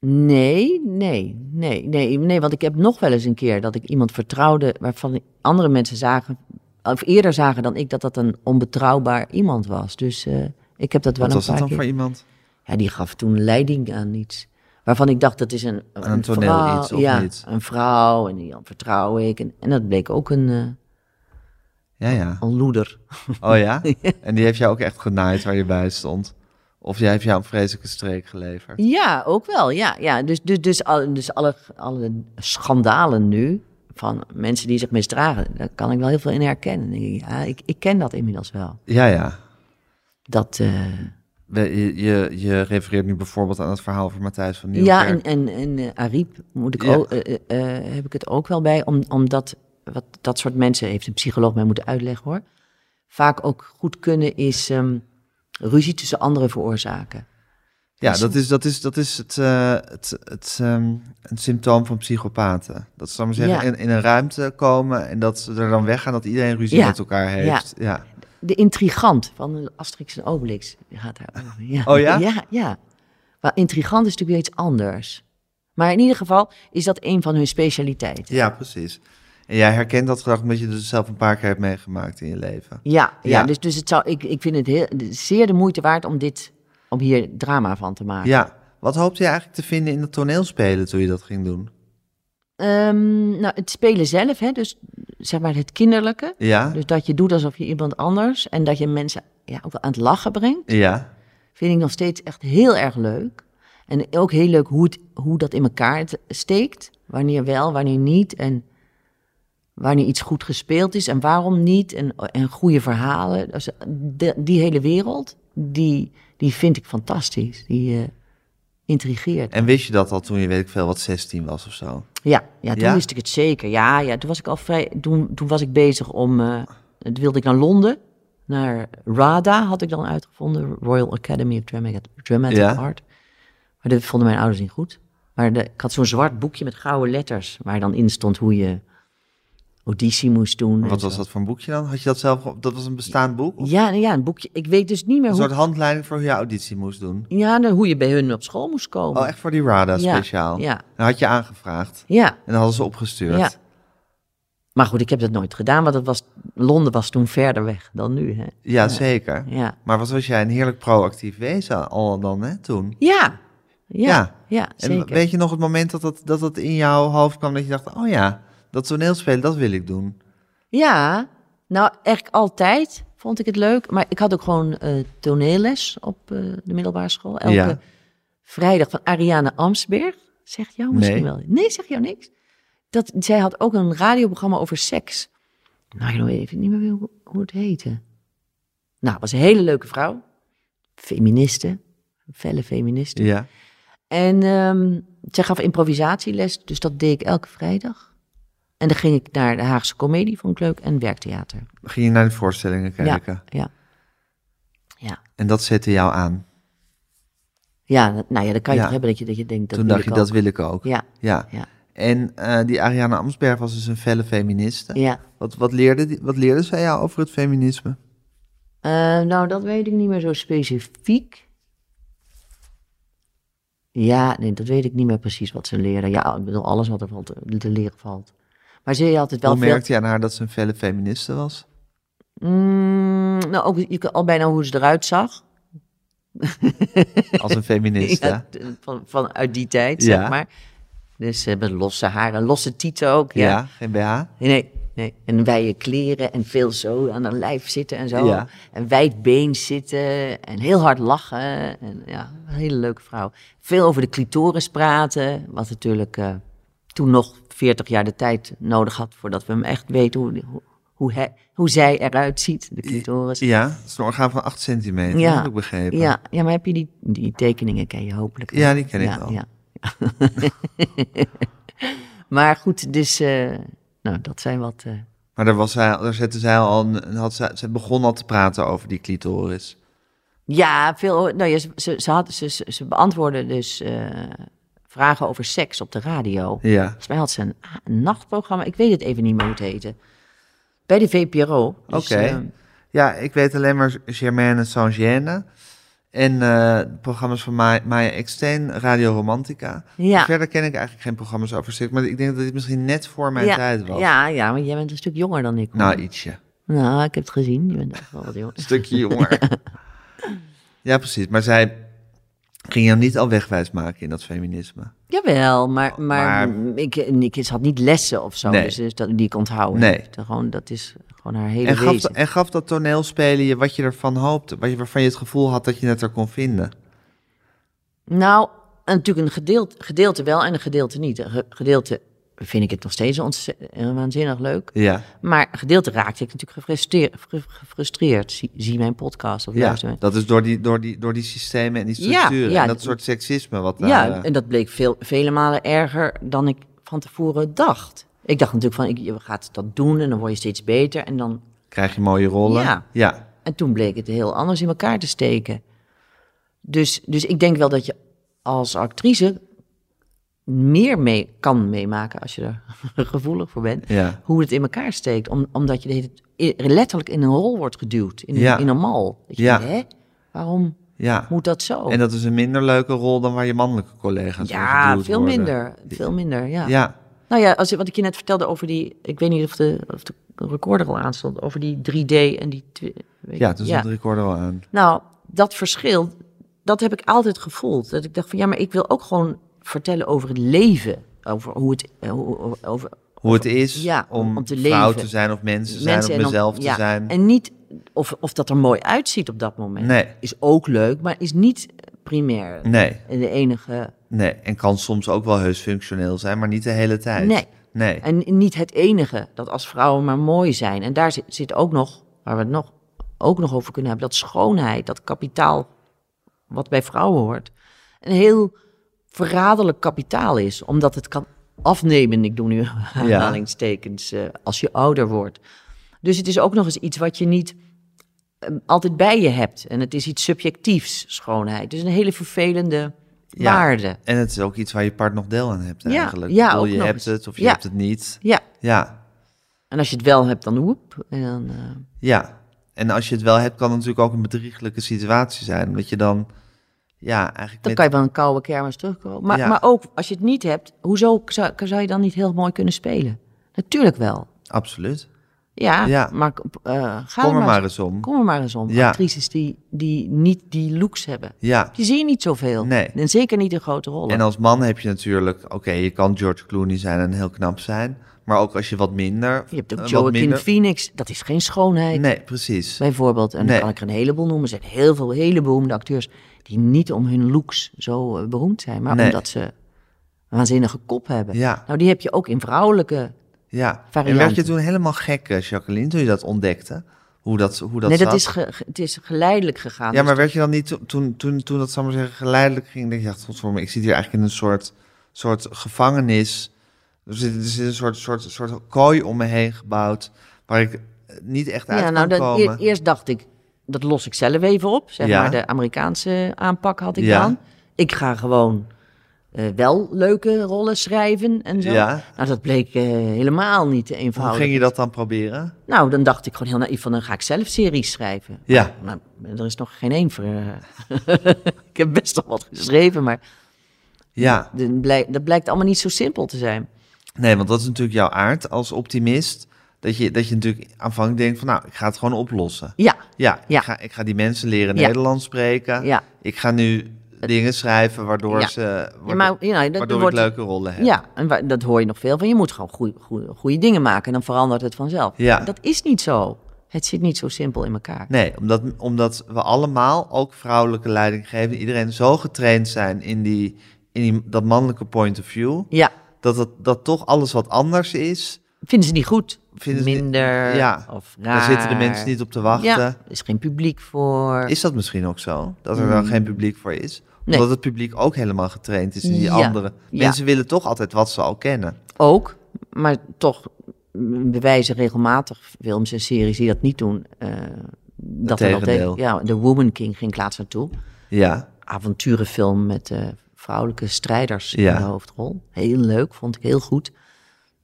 [SPEAKER 3] Nee, nee, nee, nee, nee. Want ik heb nog wel eens een keer dat ik iemand vertrouwde waarvan andere mensen zagen, of eerder zagen dan ik, dat dat een onbetrouwbaar iemand was. Dus eh, ik heb dat wel
[SPEAKER 2] Wat
[SPEAKER 3] een
[SPEAKER 2] was dat
[SPEAKER 3] paar
[SPEAKER 2] dan
[SPEAKER 3] keer.
[SPEAKER 2] voor iemand?
[SPEAKER 3] Ja, die gaf toen leiding aan iets. Waarvan ik dacht, dat is een,
[SPEAKER 2] Aan een toneel
[SPEAKER 3] vrouw,
[SPEAKER 2] iets, of
[SPEAKER 3] ja,
[SPEAKER 2] niet?
[SPEAKER 3] een vrouw en die vertrouw ik. En, en dat bleek ook een, eh,
[SPEAKER 2] Ja, ja.
[SPEAKER 3] een loeder.
[SPEAKER 2] Oh ja? En die heeft jou ook echt genaaid waar je bij stond? Of jij heeft jou een vreselijke streek geleverd?
[SPEAKER 3] Ja, ook wel. Ja, ja. Dus, dus, dus, al- dus alle, alle schandalen nu van mensen die zich misdragen, daar kan ik wel heel veel in herkennen. Dan denk ik, Ja, ik, ik ken dat inmiddels wel.
[SPEAKER 2] Ja, ja.
[SPEAKER 3] Dat, eh,
[SPEAKER 2] We- Je, je, je refereert nu bijvoorbeeld aan het verhaal van Matthijs van
[SPEAKER 3] ja,
[SPEAKER 2] Nieuwkerk.
[SPEAKER 3] en, en, en eh, Ariep moet ik
[SPEAKER 2] Ja.
[SPEAKER 3] ook, eh, eh, eh, heb ik het ook wel bij, om- omdat wat, dat soort mensen, heeft een psycholoog mij moeten uitleggen hoor, vaak ook goed kunnen is ehm, ruzie tussen anderen veroorzaken.
[SPEAKER 2] Ja, dat is, dat is, dat is het, eh, het, het ehm, een symptoom van psychopaten. Dat ze, zal ik maar zeggen,
[SPEAKER 3] Ja.
[SPEAKER 2] in, in een ruimte komen en dat ze er dan weggaan dat iedereen ruzie
[SPEAKER 3] Ja.
[SPEAKER 2] met elkaar heeft. Ja.
[SPEAKER 3] De intrigant van Asterix en Obelix gaat daarover. Ja.
[SPEAKER 2] Oh ja?
[SPEAKER 3] Ja, ja. Maar intrigant is natuurlijk weer iets anders. Maar in ieder geval is dat een van hun specialiteiten.
[SPEAKER 2] Ja, precies. En jij herkent dat gedrag omdat je het dus zelf een paar keer hebt meegemaakt in je leven.
[SPEAKER 3] Ja, ja,
[SPEAKER 2] Ja.
[SPEAKER 3] dus, dus het zou, ik, ik vind het heel, zeer de moeite waard om, dit, om hier drama van te maken.
[SPEAKER 2] Ja. Wat hoopte je eigenlijk te vinden in het toneelspelen toen je dat ging doen?
[SPEAKER 3] Ehm, nou, het spelen zelf, hè, dus zeg maar het kinderlijke.
[SPEAKER 2] Ja?
[SPEAKER 3] Dus dat je doet alsof je iemand anders en dat je mensen ja, ook wel aan het lachen brengt.
[SPEAKER 2] Ja.
[SPEAKER 3] vind ik nog steeds echt heel erg leuk. En ook heel leuk hoe, het, hoe dat in elkaar t- steekt. Wanneer wel, wanneer niet. En wanneer iets goed gespeeld is en waarom niet. En, en goede verhalen. Dus de- die hele wereld, die, die vind ik fantastisch. Die eh, intrigeert.
[SPEAKER 2] En wist je dat al toen je, weet ik veel, wat 16 was of zo?
[SPEAKER 3] Ja, ja toen
[SPEAKER 2] Ja?
[SPEAKER 3] wist ik het zeker. Ja, ja toen was ik al vrij. Toen, toen was ik bezig om. eh, toen wilde ik naar Londen. Naar RADA had ik dan uitgevonden. Royal Academy of Dramatic, Dramatic
[SPEAKER 2] Ja.
[SPEAKER 3] Art. Maar dat vonden mijn ouders niet goed. Maar de, ik had zo'n zwart boekje met gouden letters. Waar dan in stond hoe je auditie moest doen. en
[SPEAKER 2] Wat
[SPEAKER 3] zo.
[SPEAKER 2] was dat voor een boekje dan? Had je dat zelf... ge- Dat was een bestaand boek? Of
[SPEAKER 3] Ja, nou ja, een boekje. Ik weet dus niet meer
[SPEAKER 2] een soort
[SPEAKER 3] hoe,
[SPEAKER 2] handleiding voor hoe je auditie moest doen?
[SPEAKER 3] ja, nou, hoe je bij hun op school moest komen.
[SPEAKER 2] Oh, echt voor die RADA
[SPEAKER 3] Ja,
[SPEAKER 2] speciaal?
[SPEAKER 3] ja.
[SPEAKER 2] Dan had je aangevraagd.
[SPEAKER 3] Ja.
[SPEAKER 2] En dan hadden ze opgestuurd.
[SPEAKER 3] Ja. Maar goed, ik heb dat nooit gedaan. Want dat was, Londen was toen verder weg dan nu. Hè?
[SPEAKER 2] Ja, zeker.
[SPEAKER 3] Ja.
[SPEAKER 2] Maar wat was jij een heerlijk proactief wezen al dan, hè, toen?
[SPEAKER 3] Ja, ja,
[SPEAKER 2] Ja.
[SPEAKER 3] ja,
[SPEAKER 2] En
[SPEAKER 3] zeker.
[SPEAKER 2] weet je nog het moment dat dat, dat dat in jouw hoofd kwam dat je dacht, oh ja, dat toneelspelen, dat wil ik doen.
[SPEAKER 3] Ja, nou eigenlijk altijd vond ik het leuk. Maar ik had ook gewoon eh, toneelles op eh, de middelbare school. Elke
[SPEAKER 2] Ja.
[SPEAKER 3] vrijdag van Ariane Amsberg. Zegt jou misschien
[SPEAKER 2] Nee.
[SPEAKER 3] wel. Nee, zegt jou niks. Dat, zij had ook een radioprogramma over seks. Nou, ik weet even niet meer hoe, hoe het heette. Nou, was een hele leuke vrouw. Feministe. Felle feministe.
[SPEAKER 2] Ja.
[SPEAKER 3] En ehm zij gaf improvisatieles, dus dat deed ik elke vrijdag. En dan ging ik naar de Haagse Comedie, vond ik leuk, en werktheater.
[SPEAKER 2] Ging je naar de voorstellingen kijken.
[SPEAKER 3] Ja, ja. Ja.
[SPEAKER 2] En dat zette jou aan.
[SPEAKER 3] ja, dat- nou ja, dan kan je
[SPEAKER 2] Ja.
[SPEAKER 3] toch hebben dat je, dat je denkt... Dat
[SPEAKER 2] toen
[SPEAKER 3] wil
[SPEAKER 2] dacht je,
[SPEAKER 3] ik
[SPEAKER 2] dat
[SPEAKER 3] ook.
[SPEAKER 2] wil ik ook.
[SPEAKER 3] Ja,
[SPEAKER 2] Ja.
[SPEAKER 3] ja,
[SPEAKER 2] En eh, die Ariane Amsberg was dus een felle feministe.
[SPEAKER 3] ja.
[SPEAKER 2] Wat, wat, leerde, die- wat leerde zij jou over het feminisme?
[SPEAKER 3] Eh, nou, dat weet ik niet meer zo specifiek. Ja, nee, dat weet ik niet meer precies wat ze leren. Ja, ik bedoel, alles wat er valt, te- te leren valt. Maar ze had het wel
[SPEAKER 2] Hoe
[SPEAKER 3] veel...
[SPEAKER 2] merkte je aan haar dat ze een felle feministe was?
[SPEAKER 3] Mm, nou, ook je, kan al bijna hoe ze eruit zag.
[SPEAKER 2] Als een feministe.
[SPEAKER 3] Ja, t- eh, van, vanuit die tijd,
[SPEAKER 2] Ja.
[SPEAKER 3] zeg maar. Dus eh, met losse haren, losse tieten ook.
[SPEAKER 2] Ja,
[SPEAKER 3] Ja.
[SPEAKER 2] geen BH.
[SPEAKER 3] Nee, nee. En wijde kleren en veel zo aan haar lijf zitten en zo.
[SPEAKER 2] Ja.
[SPEAKER 3] En wijd been zitten en heel hard lachen. En, ja, een hele leuke vrouw. Veel over de clitoris praten, wat natuurlijk eh, toen nog 40 jaar de tijd nodig had voordat we hem echt weten hoe, hoe, hoe, hij- hoe zij eruit ziet, de clitoris.
[SPEAKER 2] Ja, het is een orgaan van 8 centimeter,
[SPEAKER 3] Ja.
[SPEAKER 2] heb ik begrepen.
[SPEAKER 3] Ja, ja, maar heb je die, die tekeningen ken je hopelijk wel.
[SPEAKER 2] Ja, die ken ik wel.
[SPEAKER 3] Ja. Maar goed, dus eh, nou, dat zijn wat... eh,
[SPEAKER 2] Maar daar, was zij, daar zette zij al een, een- had zij, ze begon al te praten over die clitoris.
[SPEAKER 3] Ja, veel. Nou ja, ze, ze, ze, had, ze, ze, ze beantwoordde dus eh, vragen over seks op de radio.
[SPEAKER 2] Ja.
[SPEAKER 3] Volgens mij had ze een, een nachtprogramma. Ik weet het even niet meer hoe het heette. Bij de VPRO. Dus,
[SPEAKER 2] Oké.
[SPEAKER 3] eh,
[SPEAKER 2] Ja, ik weet alleen maar Germaine sans gêne en eh, programma's van Ma- Maya Eksteen, Radio Romantica.
[SPEAKER 3] ja.
[SPEAKER 2] Verder ken ik eigenlijk geen programma's over seks, maar ik denk dat dit misschien net voor mijn
[SPEAKER 3] ja,
[SPEAKER 2] tijd was.
[SPEAKER 3] Ja, ja, want jij bent een stuk jonger dan ik. hoor.
[SPEAKER 2] Nou, ietsje.
[SPEAKER 3] Nou, ik heb het gezien. Je bent echt wel wat jonger.
[SPEAKER 2] Een stukje jonger. ja. precies. Maar zij ging hem niet al wegwijs maken in dat feminisme.
[SPEAKER 3] Jawel, maar, maar,
[SPEAKER 2] Oh, Maar-
[SPEAKER 3] ik, ik, ze had niet lessen of zo.
[SPEAKER 2] Nee.
[SPEAKER 3] Dus, dus dat, die ik onthouden.
[SPEAKER 2] Nee.
[SPEAKER 3] Dat, gewoon, dat is gewoon haar hele
[SPEAKER 2] En gaf,
[SPEAKER 3] wezen.
[SPEAKER 2] en gaf dat toneelspelen je wat je ervan hoopte, wat je, waarvan je het gevoel had dat je het er kon vinden.
[SPEAKER 3] Nou, en natuurlijk een gedeelte, gedeelte wel en een gedeelte niet. Een ge- gedeelte vind ik het nog steeds ontze- eh, waanzinnig leuk.
[SPEAKER 2] Ja,
[SPEAKER 3] Maar een gedeelte raakte ik natuurlijk gefrustreer- fru- gefrustreerd. Zie, zie mijn podcast of
[SPEAKER 2] ja.
[SPEAKER 3] luister mijn-
[SPEAKER 2] dat is door die, door, die, door die systemen en die
[SPEAKER 3] Ja,
[SPEAKER 2] structuren
[SPEAKER 3] ja.
[SPEAKER 2] en dat soort seksisme. Wat daar,
[SPEAKER 3] Ja,
[SPEAKER 2] eh,
[SPEAKER 3] en dat bleek veel, vele malen erger dan ik van tevoren dacht. Ik dacht natuurlijk van, ik, je gaat dat doen en dan word je steeds beter. En, dan,
[SPEAKER 2] Krijg je mooie rollen?
[SPEAKER 3] Ja.
[SPEAKER 2] Ja.
[SPEAKER 3] en toen bleek het heel anders in elkaar te steken. Dus, dus ik denk wel dat je als actrice meer mee kan meemaken als je er gevoelig voor bent.
[SPEAKER 2] Ja.
[SPEAKER 3] hoe het in elkaar steekt. Om, omdat je de hele tijd i- letterlijk in een rol wordt geduwd, in, een-
[SPEAKER 2] Ja.
[SPEAKER 3] in een mal. Dat je
[SPEAKER 2] Ja.
[SPEAKER 3] denkt, hè? Waarom
[SPEAKER 2] ja.
[SPEAKER 3] moet dat zo?
[SPEAKER 2] En dat is een minder leuke rol dan waar je mannelijke collega's voor
[SPEAKER 3] ja,
[SPEAKER 2] geduwd
[SPEAKER 3] veel
[SPEAKER 2] worden.
[SPEAKER 3] minder. Veel minder, ja.
[SPEAKER 2] Ja.
[SPEAKER 3] Nou ja, als, wat ik je net vertelde over die... Ik weet niet of de, of de recorder al aanstond. Over die 3D en die... twi- weet
[SPEAKER 2] Ja, dus
[SPEAKER 3] ik-
[SPEAKER 2] toen stond de recorder al aan.
[SPEAKER 3] Nou, dat verschil, dat heb ik altijd gevoeld. Dat ik dacht van, ja, maar ik wil ook gewoon vertellen over het leven. Over hoe het... eh, hoe- Over,
[SPEAKER 2] Hoe het is
[SPEAKER 3] Ja,
[SPEAKER 2] om,
[SPEAKER 3] om te
[SPEAKER 2] vrouw
[SPEAKER 3] leven.
[SPEAKER 2] te zijn of mensen te zijn
[SPEAKER 3] mensen en
[SPEAKER 2] of
[SPEAKER 3] om-
[SPEAKER 2] mezelf te
[SPEAKER 3] ja,
[SPEAKER 2] zijn.
[SPEAKER 3] En niet of, of dat er mooi uitziet op dat moment.
[SPEAKER 2] Nee,
[SPEAKER 3] Is ook leuk, maar is niet primair
[SPEAKER 2] nee,
[SPEAKER 3] de enige.
[SPEAKER 2] nee. En kan soms ook wel heus functioneel zijn, maar niet de hele tijd.
[SPEAKER 3] Nee.
[SPEAKER 2] Nee,
[SPEAKER 3] En niet het enige dat als vrouwen maar mooi zijn. En daar zit, zit ook nog, waar we het nog, ook nog over kunnen hebben, dat schoonheid, dat kapitaal wat bij vrouwen hoort, een heel verraderlijk kapitaal is. Omdat het kan afnemen, ik doe nu aanhalingstekens, eh, als je ouder wordt. Dus het is ook nog eens iets wat je niet eh, altijd bij je hebt. En het is iets subjectiefs, schoonheid. Dus een hele vervelende
[SPEAKER 2] Ja.
[SPEAKER 3] waarde.
[SPEAKER 2] en het is ook iets waar je part nog deel aan hebt
[SPEAKER 3] Ja,
[SPEAKER 2] eigenlijk.
[SPEAKER 3] ja,
[SPEAKER 2] Ik bedoel,
[SPEAKER 3] ook
[SPEAKER 2] je
[SPEAKER 3] nog
[SPEAKER 2] hebt
[SPEAKER 3] eens.
[SPEAKER 2] het of je
[SPEAKER 3] Ja.
[SPEAKER 2] hebt het niet.
[SPEAKER 3] Ja,
[SPEAKER 2] Ja,
[SPEAKER 3] en als je het wel hebt, dan woep. En dan, eh,
[SPEAKER 2] ja. En als je het wel hebt, kan het natuurlijk ook een bedrieglijke situatie zijn. Omdat je dan, ja, eigenlijk
[SPEAKER 3] Dan
[SPEAKER 2] met-
[SPEAKER 3] kan je wel een koude kermis terugkomen. Maar,
[SPEAKER 2] Ja.
[SPEAKER 3] maar ook als je het niet hebt, hoezo zou, zou je dan niet heel mooi kunnen spelen? Natuurlijk wel.
[SPEAKER 2] Absoluut.
[SPEAKER 3] Ja,
[SPEAKER 2] Ja.
[SPEAKER 3] maar eh, ga
[SPEAKER 2] Kom er maar
[SPEAKER 3] eens-
[SPEAKER 2] eens om.
[SPEAKER 3] Kom er maar eens om.
[SPEAKER 2] Ja.
[SPEAKER 3] Actrices die, die niet die looks hebben.
[SPEAKER 2] Ja.
[SPEAKER 3] Die zie je niet zoveel.
[SPEAKER 2] Nee.
[SPEAKER 3] En zeker niet in grote rollen.
[SPEAKER 2] En als man heb je natuurlijk, oké, je kan George Clooney zijn en heel knap zijn. Maar ook als je wat minder.
[SPEAKER 3] je hebt ook
[SPEAKER 2] eh, wat
[SPEAKER 3] Joaquin
[SPEAKER 2] minder-
[SPEAKER 3] Phoenix. Dat is geen schoonheid.
[SPEAKER 2] Nee, precies.
[SPEAKER 3] Bijvoorbeeld, en
[SPEAKER 2] Nee.
[SPEAKER 3] dan kan ik er een heleboel noemen. Er zijn heel veel hele beroemde acteurs die niet om hun looks zo eh, beroemd zijn, maar
[SPEAKER 2] Nee.
[SPEAKER 3] omdat ze een waanzinnige kop hebben.
[SPEAKER 2] Ja.
[SPEAKER 3] Nou, die heb je ook in vrouwelijke
[SPEAKER 2] Ja. En
[SPEAKER 3] Varianten.
[SPEAKER 2] werd je toen helemaal gek, eh, Jacqueline, toen je dat ontdekte? Hoe dat, hoe dat
[SPEAKER 3] nee, dat
[SPEAKER 2] zat?
[SPEAKER 3] is, ge- ge- het is geleidelijk gegaan.
[SPEAKER 2] Ja,
[SPEAKER 3] Dus
[SPEAKER 2] maar werd je dan niet to- toen, toen, toen dat, zal ik maar zeggen, geleidelijk ging? Denk je, ja, godverdomme, ik zit hier eigenlijk in een soort, soort gevangenis. Er zit, er zit een soort, soort, soort kooi om me heen gebouwd. Waar ik eh, niet echt uit
[SPEAKER 3] ja,
[SPEAKER 2] kan
[SPEAKER 3] nou, dat,
[SPEAKER 2] komen.
[SPEAKER 3] eer- eerst dacht ik, dat los ik zelf even op. Zeg
[SPEAKER 2] Ja.
[SPEAKER 3] maar, de Amerikaanse aanpak had ik
[SPEAKER 2] Ja.
[SPEAKER 3] dan. Ik ga gewoon eh, wel leuke rollen schrijven en zo.
[SPEAKER 2] Ja.
[SPEAKER 3] Nou, dat bleek eh, helemaal niet
[SPEAKER 2] Hoe
[SPEAKER 3] eenvoudig.
[SPEAKER 2] ging je dat dan proberen?
[SPEAKER 3] Nou, dan dacht ik gewoon heel naïef van, dan ga ik zelf series schrijven.
[SPEAKER 2] Ja.
[SPEAKER 3] Nou, er is nog geen één voor. eh. ik heb best nog wat geschreven, maar
[SPEAKER 2] Ja.
[SPEAKER 3] dat blijkt, dat blijkt allemaal niet zo simpel te zijn.
[SPEAKER 2] Nee, want dat is natuurlijk jouw aard als optimist. Dat je, dat je natuurlijk aanvankelijk denkt van nou, ik ga het gewoon oplossen.
[SPEAKER 3] Ja,
[SPEAKER 2] Ja,
[SPEAKER 3] Ja.
[SPEAKER 2] Ik, ga, ik ga die mensen leren
[SPEAKER 3] Ja.
[SPEAKER 2] Nederlands spreken.
[SPEAKER 3] ja.
[SPEAKER 2] Ik ga nu dingen schrijven waardoor
[SPEAKER 3] Ja.
[SPEAKER 2] ze waardoor,
[SPEAKER 3] ja maar ja, dat- dat
[SPEAKER 2] waardoor
[SPEAKER 3] wordt-
[SPEAKER 2] ik leuke rollen heb.
[SPEAKER 3] Ja, en wa- dat hoor je nog veel van. Je moet gewoon goede, goede, goede dingen maken en dan verandert het vanzelf.
[SPEAKER 2] Ja.
[SPEAKER 3] Dat is niet zo. Het zit niet zo simpel in elkaar.
[SPEAKER 2] Nee, omdat, omdat we allemaal, ook vrouwelijke leidinggevenden, iedereen zo getraind zijn in, die, in die, dat mannelijke point of view.
[SPEAKER 3] Ja,
[SPEAKER 2] Dat, het, dat toch alles wat anders is.
[SPEAKER 3] vinden ze niet goed.
[SPEAKER 2] Vinden ze niet-
[SPEAKER 3] Minder
[SPEAKER 2] ja,
[SPEAKER 3] of raar.
[SPEAKER 2] Daar zitten de mensen niet op te wachten.
[SPEAKER 3] Ja, er is geen publiek voor.
[SPEAKER 2] Is dat misschien ook zo? Dat er wel geen publiek voor is?
[SPEAKER 3] Mm. Nee.
[SPEAKER 2] Omdat het publiek ook helemaal getraind is in die
[SPEAKER 3] Ja,
[SPEAKER 2] andere.
[SPEAKER 3] ja.
[SPEAKER 2] Mensen willen toch altijd wat ze al kennen.
[SPEAKER 3] ook, maar toch mm, bewijzen regelmatig films en series die dat niet doen. eh, dat er wel
[SPEAKER 2] tegendeel.
[SPEAKER 3] tegen. Ja, de Woman King ging ik laatst naartoe.
[SPEAKER 2] Ja,
[SPEAKER 3] Avonturenfilm met eh, vrouwelijke strijders
[SPEAKER 2] Ja.
[SPEAKER 3] in de hoofdrol. Heel leuk, vond ik heel goed.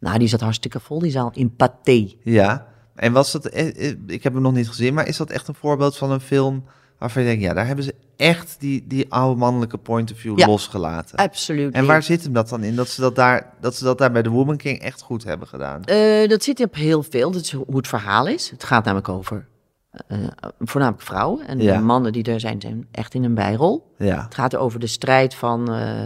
[SPEAKER 3] Nou, die zat hartstikke vol, die zaal in Pathé.
[SPEAKER 2] ja. En was dat, eh, eh, ik heb hem nog niet gezien, maar is dat echt een voorbeeld van een film waarvan je denkt, ja, daar hebben ze echt die, die oude mannelijke point of view
[SPEAKER 3] Ja.
[SPEAKER 2] losgelaten.
[SPEAKER 3] Absoluut.
[SPEAKER 2] En waar zit hem dat dan in? Dat ze dat, daar, dat ze dat daar bij The Woman King echt goed hebben gedaan.
[SPEAKER 3] Eh, dat zit op heel veel. Dat is ho- hoe het verhaal is. Het gaat namelijk over eh, voornamelijk vrouwen. En
[SPEAKER 2] Ja.
[SPEAKER 3] de mannen die er zijn, zijn echt in een bijrol.
[SPEAKER 2] Ja,
[SPEAKER 3] Het gaat over de strijd van, eh,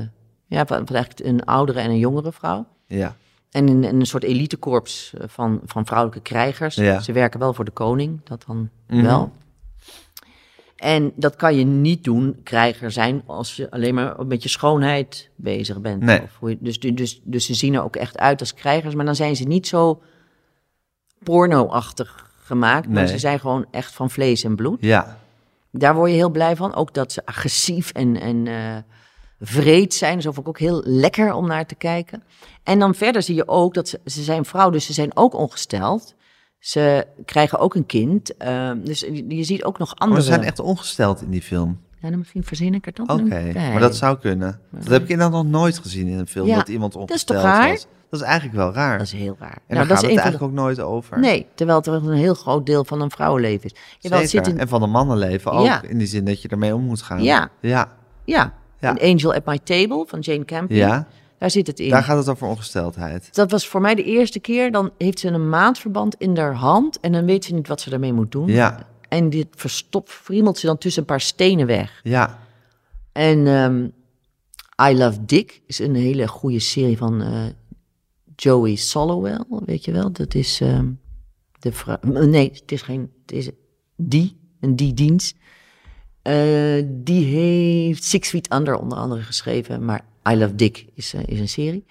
[SPEAKER 3] ja, van, van eigenlijk een oudere en een jongere vrouw.
[SPEAKER 2] ja,
[SPEAKER 3] En een, een soort elitekorps eh, van, van vrouwelijke krijgers.
[SPEAKER 2] Ja. Mhm.
[SPEAKER 3] Ze werken wel voor de koning, dat dan wel. En dat kan je niet doen, krijger zijn, als je alleen maar met je schoonheid bezig bent.
[SPEAKER 2] Nee.
[SPEAKER 3] Of hoe je- dus, dus, dus ze zien er ook echt uit als krijgers, maar dan zijn ze niet zo porno-achtig gemaakt. Maar
[SPEAKER 2] Nee.
[SPEAKER 3] ze zijn gewoon echt van vlees en bloed.
[SPEAKER 2] ja,
[SPEAKER 3] Daar word je heel blij van. Ook dat ze agressief en, en eh, vreed zijn. Zo vond ik ook heel lekker om naar te kijken. En dan verder zie je ook dat ze, ze zijn vrouw, dus ze zijn ook ongesteld. Ze krijgen ook een kind. eh, dus je je ziet ook nog
[SPEAKER 2] Maar
[SPEAKER 3] andere...
[SPEAKER 2] ze zijn echt ongesteld in die film.
[SPEAKER 3] Ja, dan misschien verzin ik er dan
[SPEAKER 2] Oké,
[SPEAKER 3] een bij.
[SPEAKER 2] maar dat zou kunnen. Dat heb ik inderdaad nog nooit gezien in een film,
[SPEAKER 3] Ja,
[SPEAKER 2] dat iemand
[SPEAKER 3] dat is
[SPEAKER 2] ongesteld
[SPEAKER 3] toch raar?
[SPEAKER 2] was. Dat is eigenlijk wel raar.
[SPEAKER 3] Dat is heel raar.
[SPEAKER 2] en daar gaat
[SPEAKER 3] is
[SPEAKER 2] het
[SPEAKER 3] een van
[SPEAKER 2] eigenlijk ook nooit over.
[SPEAKER 3] de- Nee, terwijl het wel een heel groot deel van een vrouwenleven is. Jawel, het
[SPEAKER 2] Zeker.
[SPEAKER 3] zit in...
[SPEAKER 2] En van een mannenleven ook,
[SPEAKER 3] Ja.
[SPEAKER 2] in die zin dat je ermee om moet gaan.
[SPEAKER 3] Ja.
[SPEAKER 2] Ja,
[SPEAKER 3] Ja,
[SPEAKER 2] Ja.
[SPEAKER 3] An Angel at My Table van Jane Campion.
[SPEAKER 2] ja.
[SPEAKER 3] Daar zit het in.
[SPEAKER 2] daar gaat het over ongesteldheid.
[SPEAKER 3] Dat was voor mij de eerste keer. Dan heeft ze een maandverband in haar hand. En dan weet ze niet wat ze daarmee moet doen.
[SPEAKER 2] Ja,
[SPEAKER 3] En dit verstopt, friemelt ze dan tussen een paar stenen weg.
[SPEAKER 2] ja,
[SPEAKER 3] En ehm, I Love Dick is een hele goede serie van eh, Joey Solowell. Weet je wel? Dat is ehm, de vrouw. Nee, het is geen. Het is die. Een die-dienst. Eh, die heeft Six Feet Under onder andere geschreven. Maar I Love Dick is, eh, is een serie.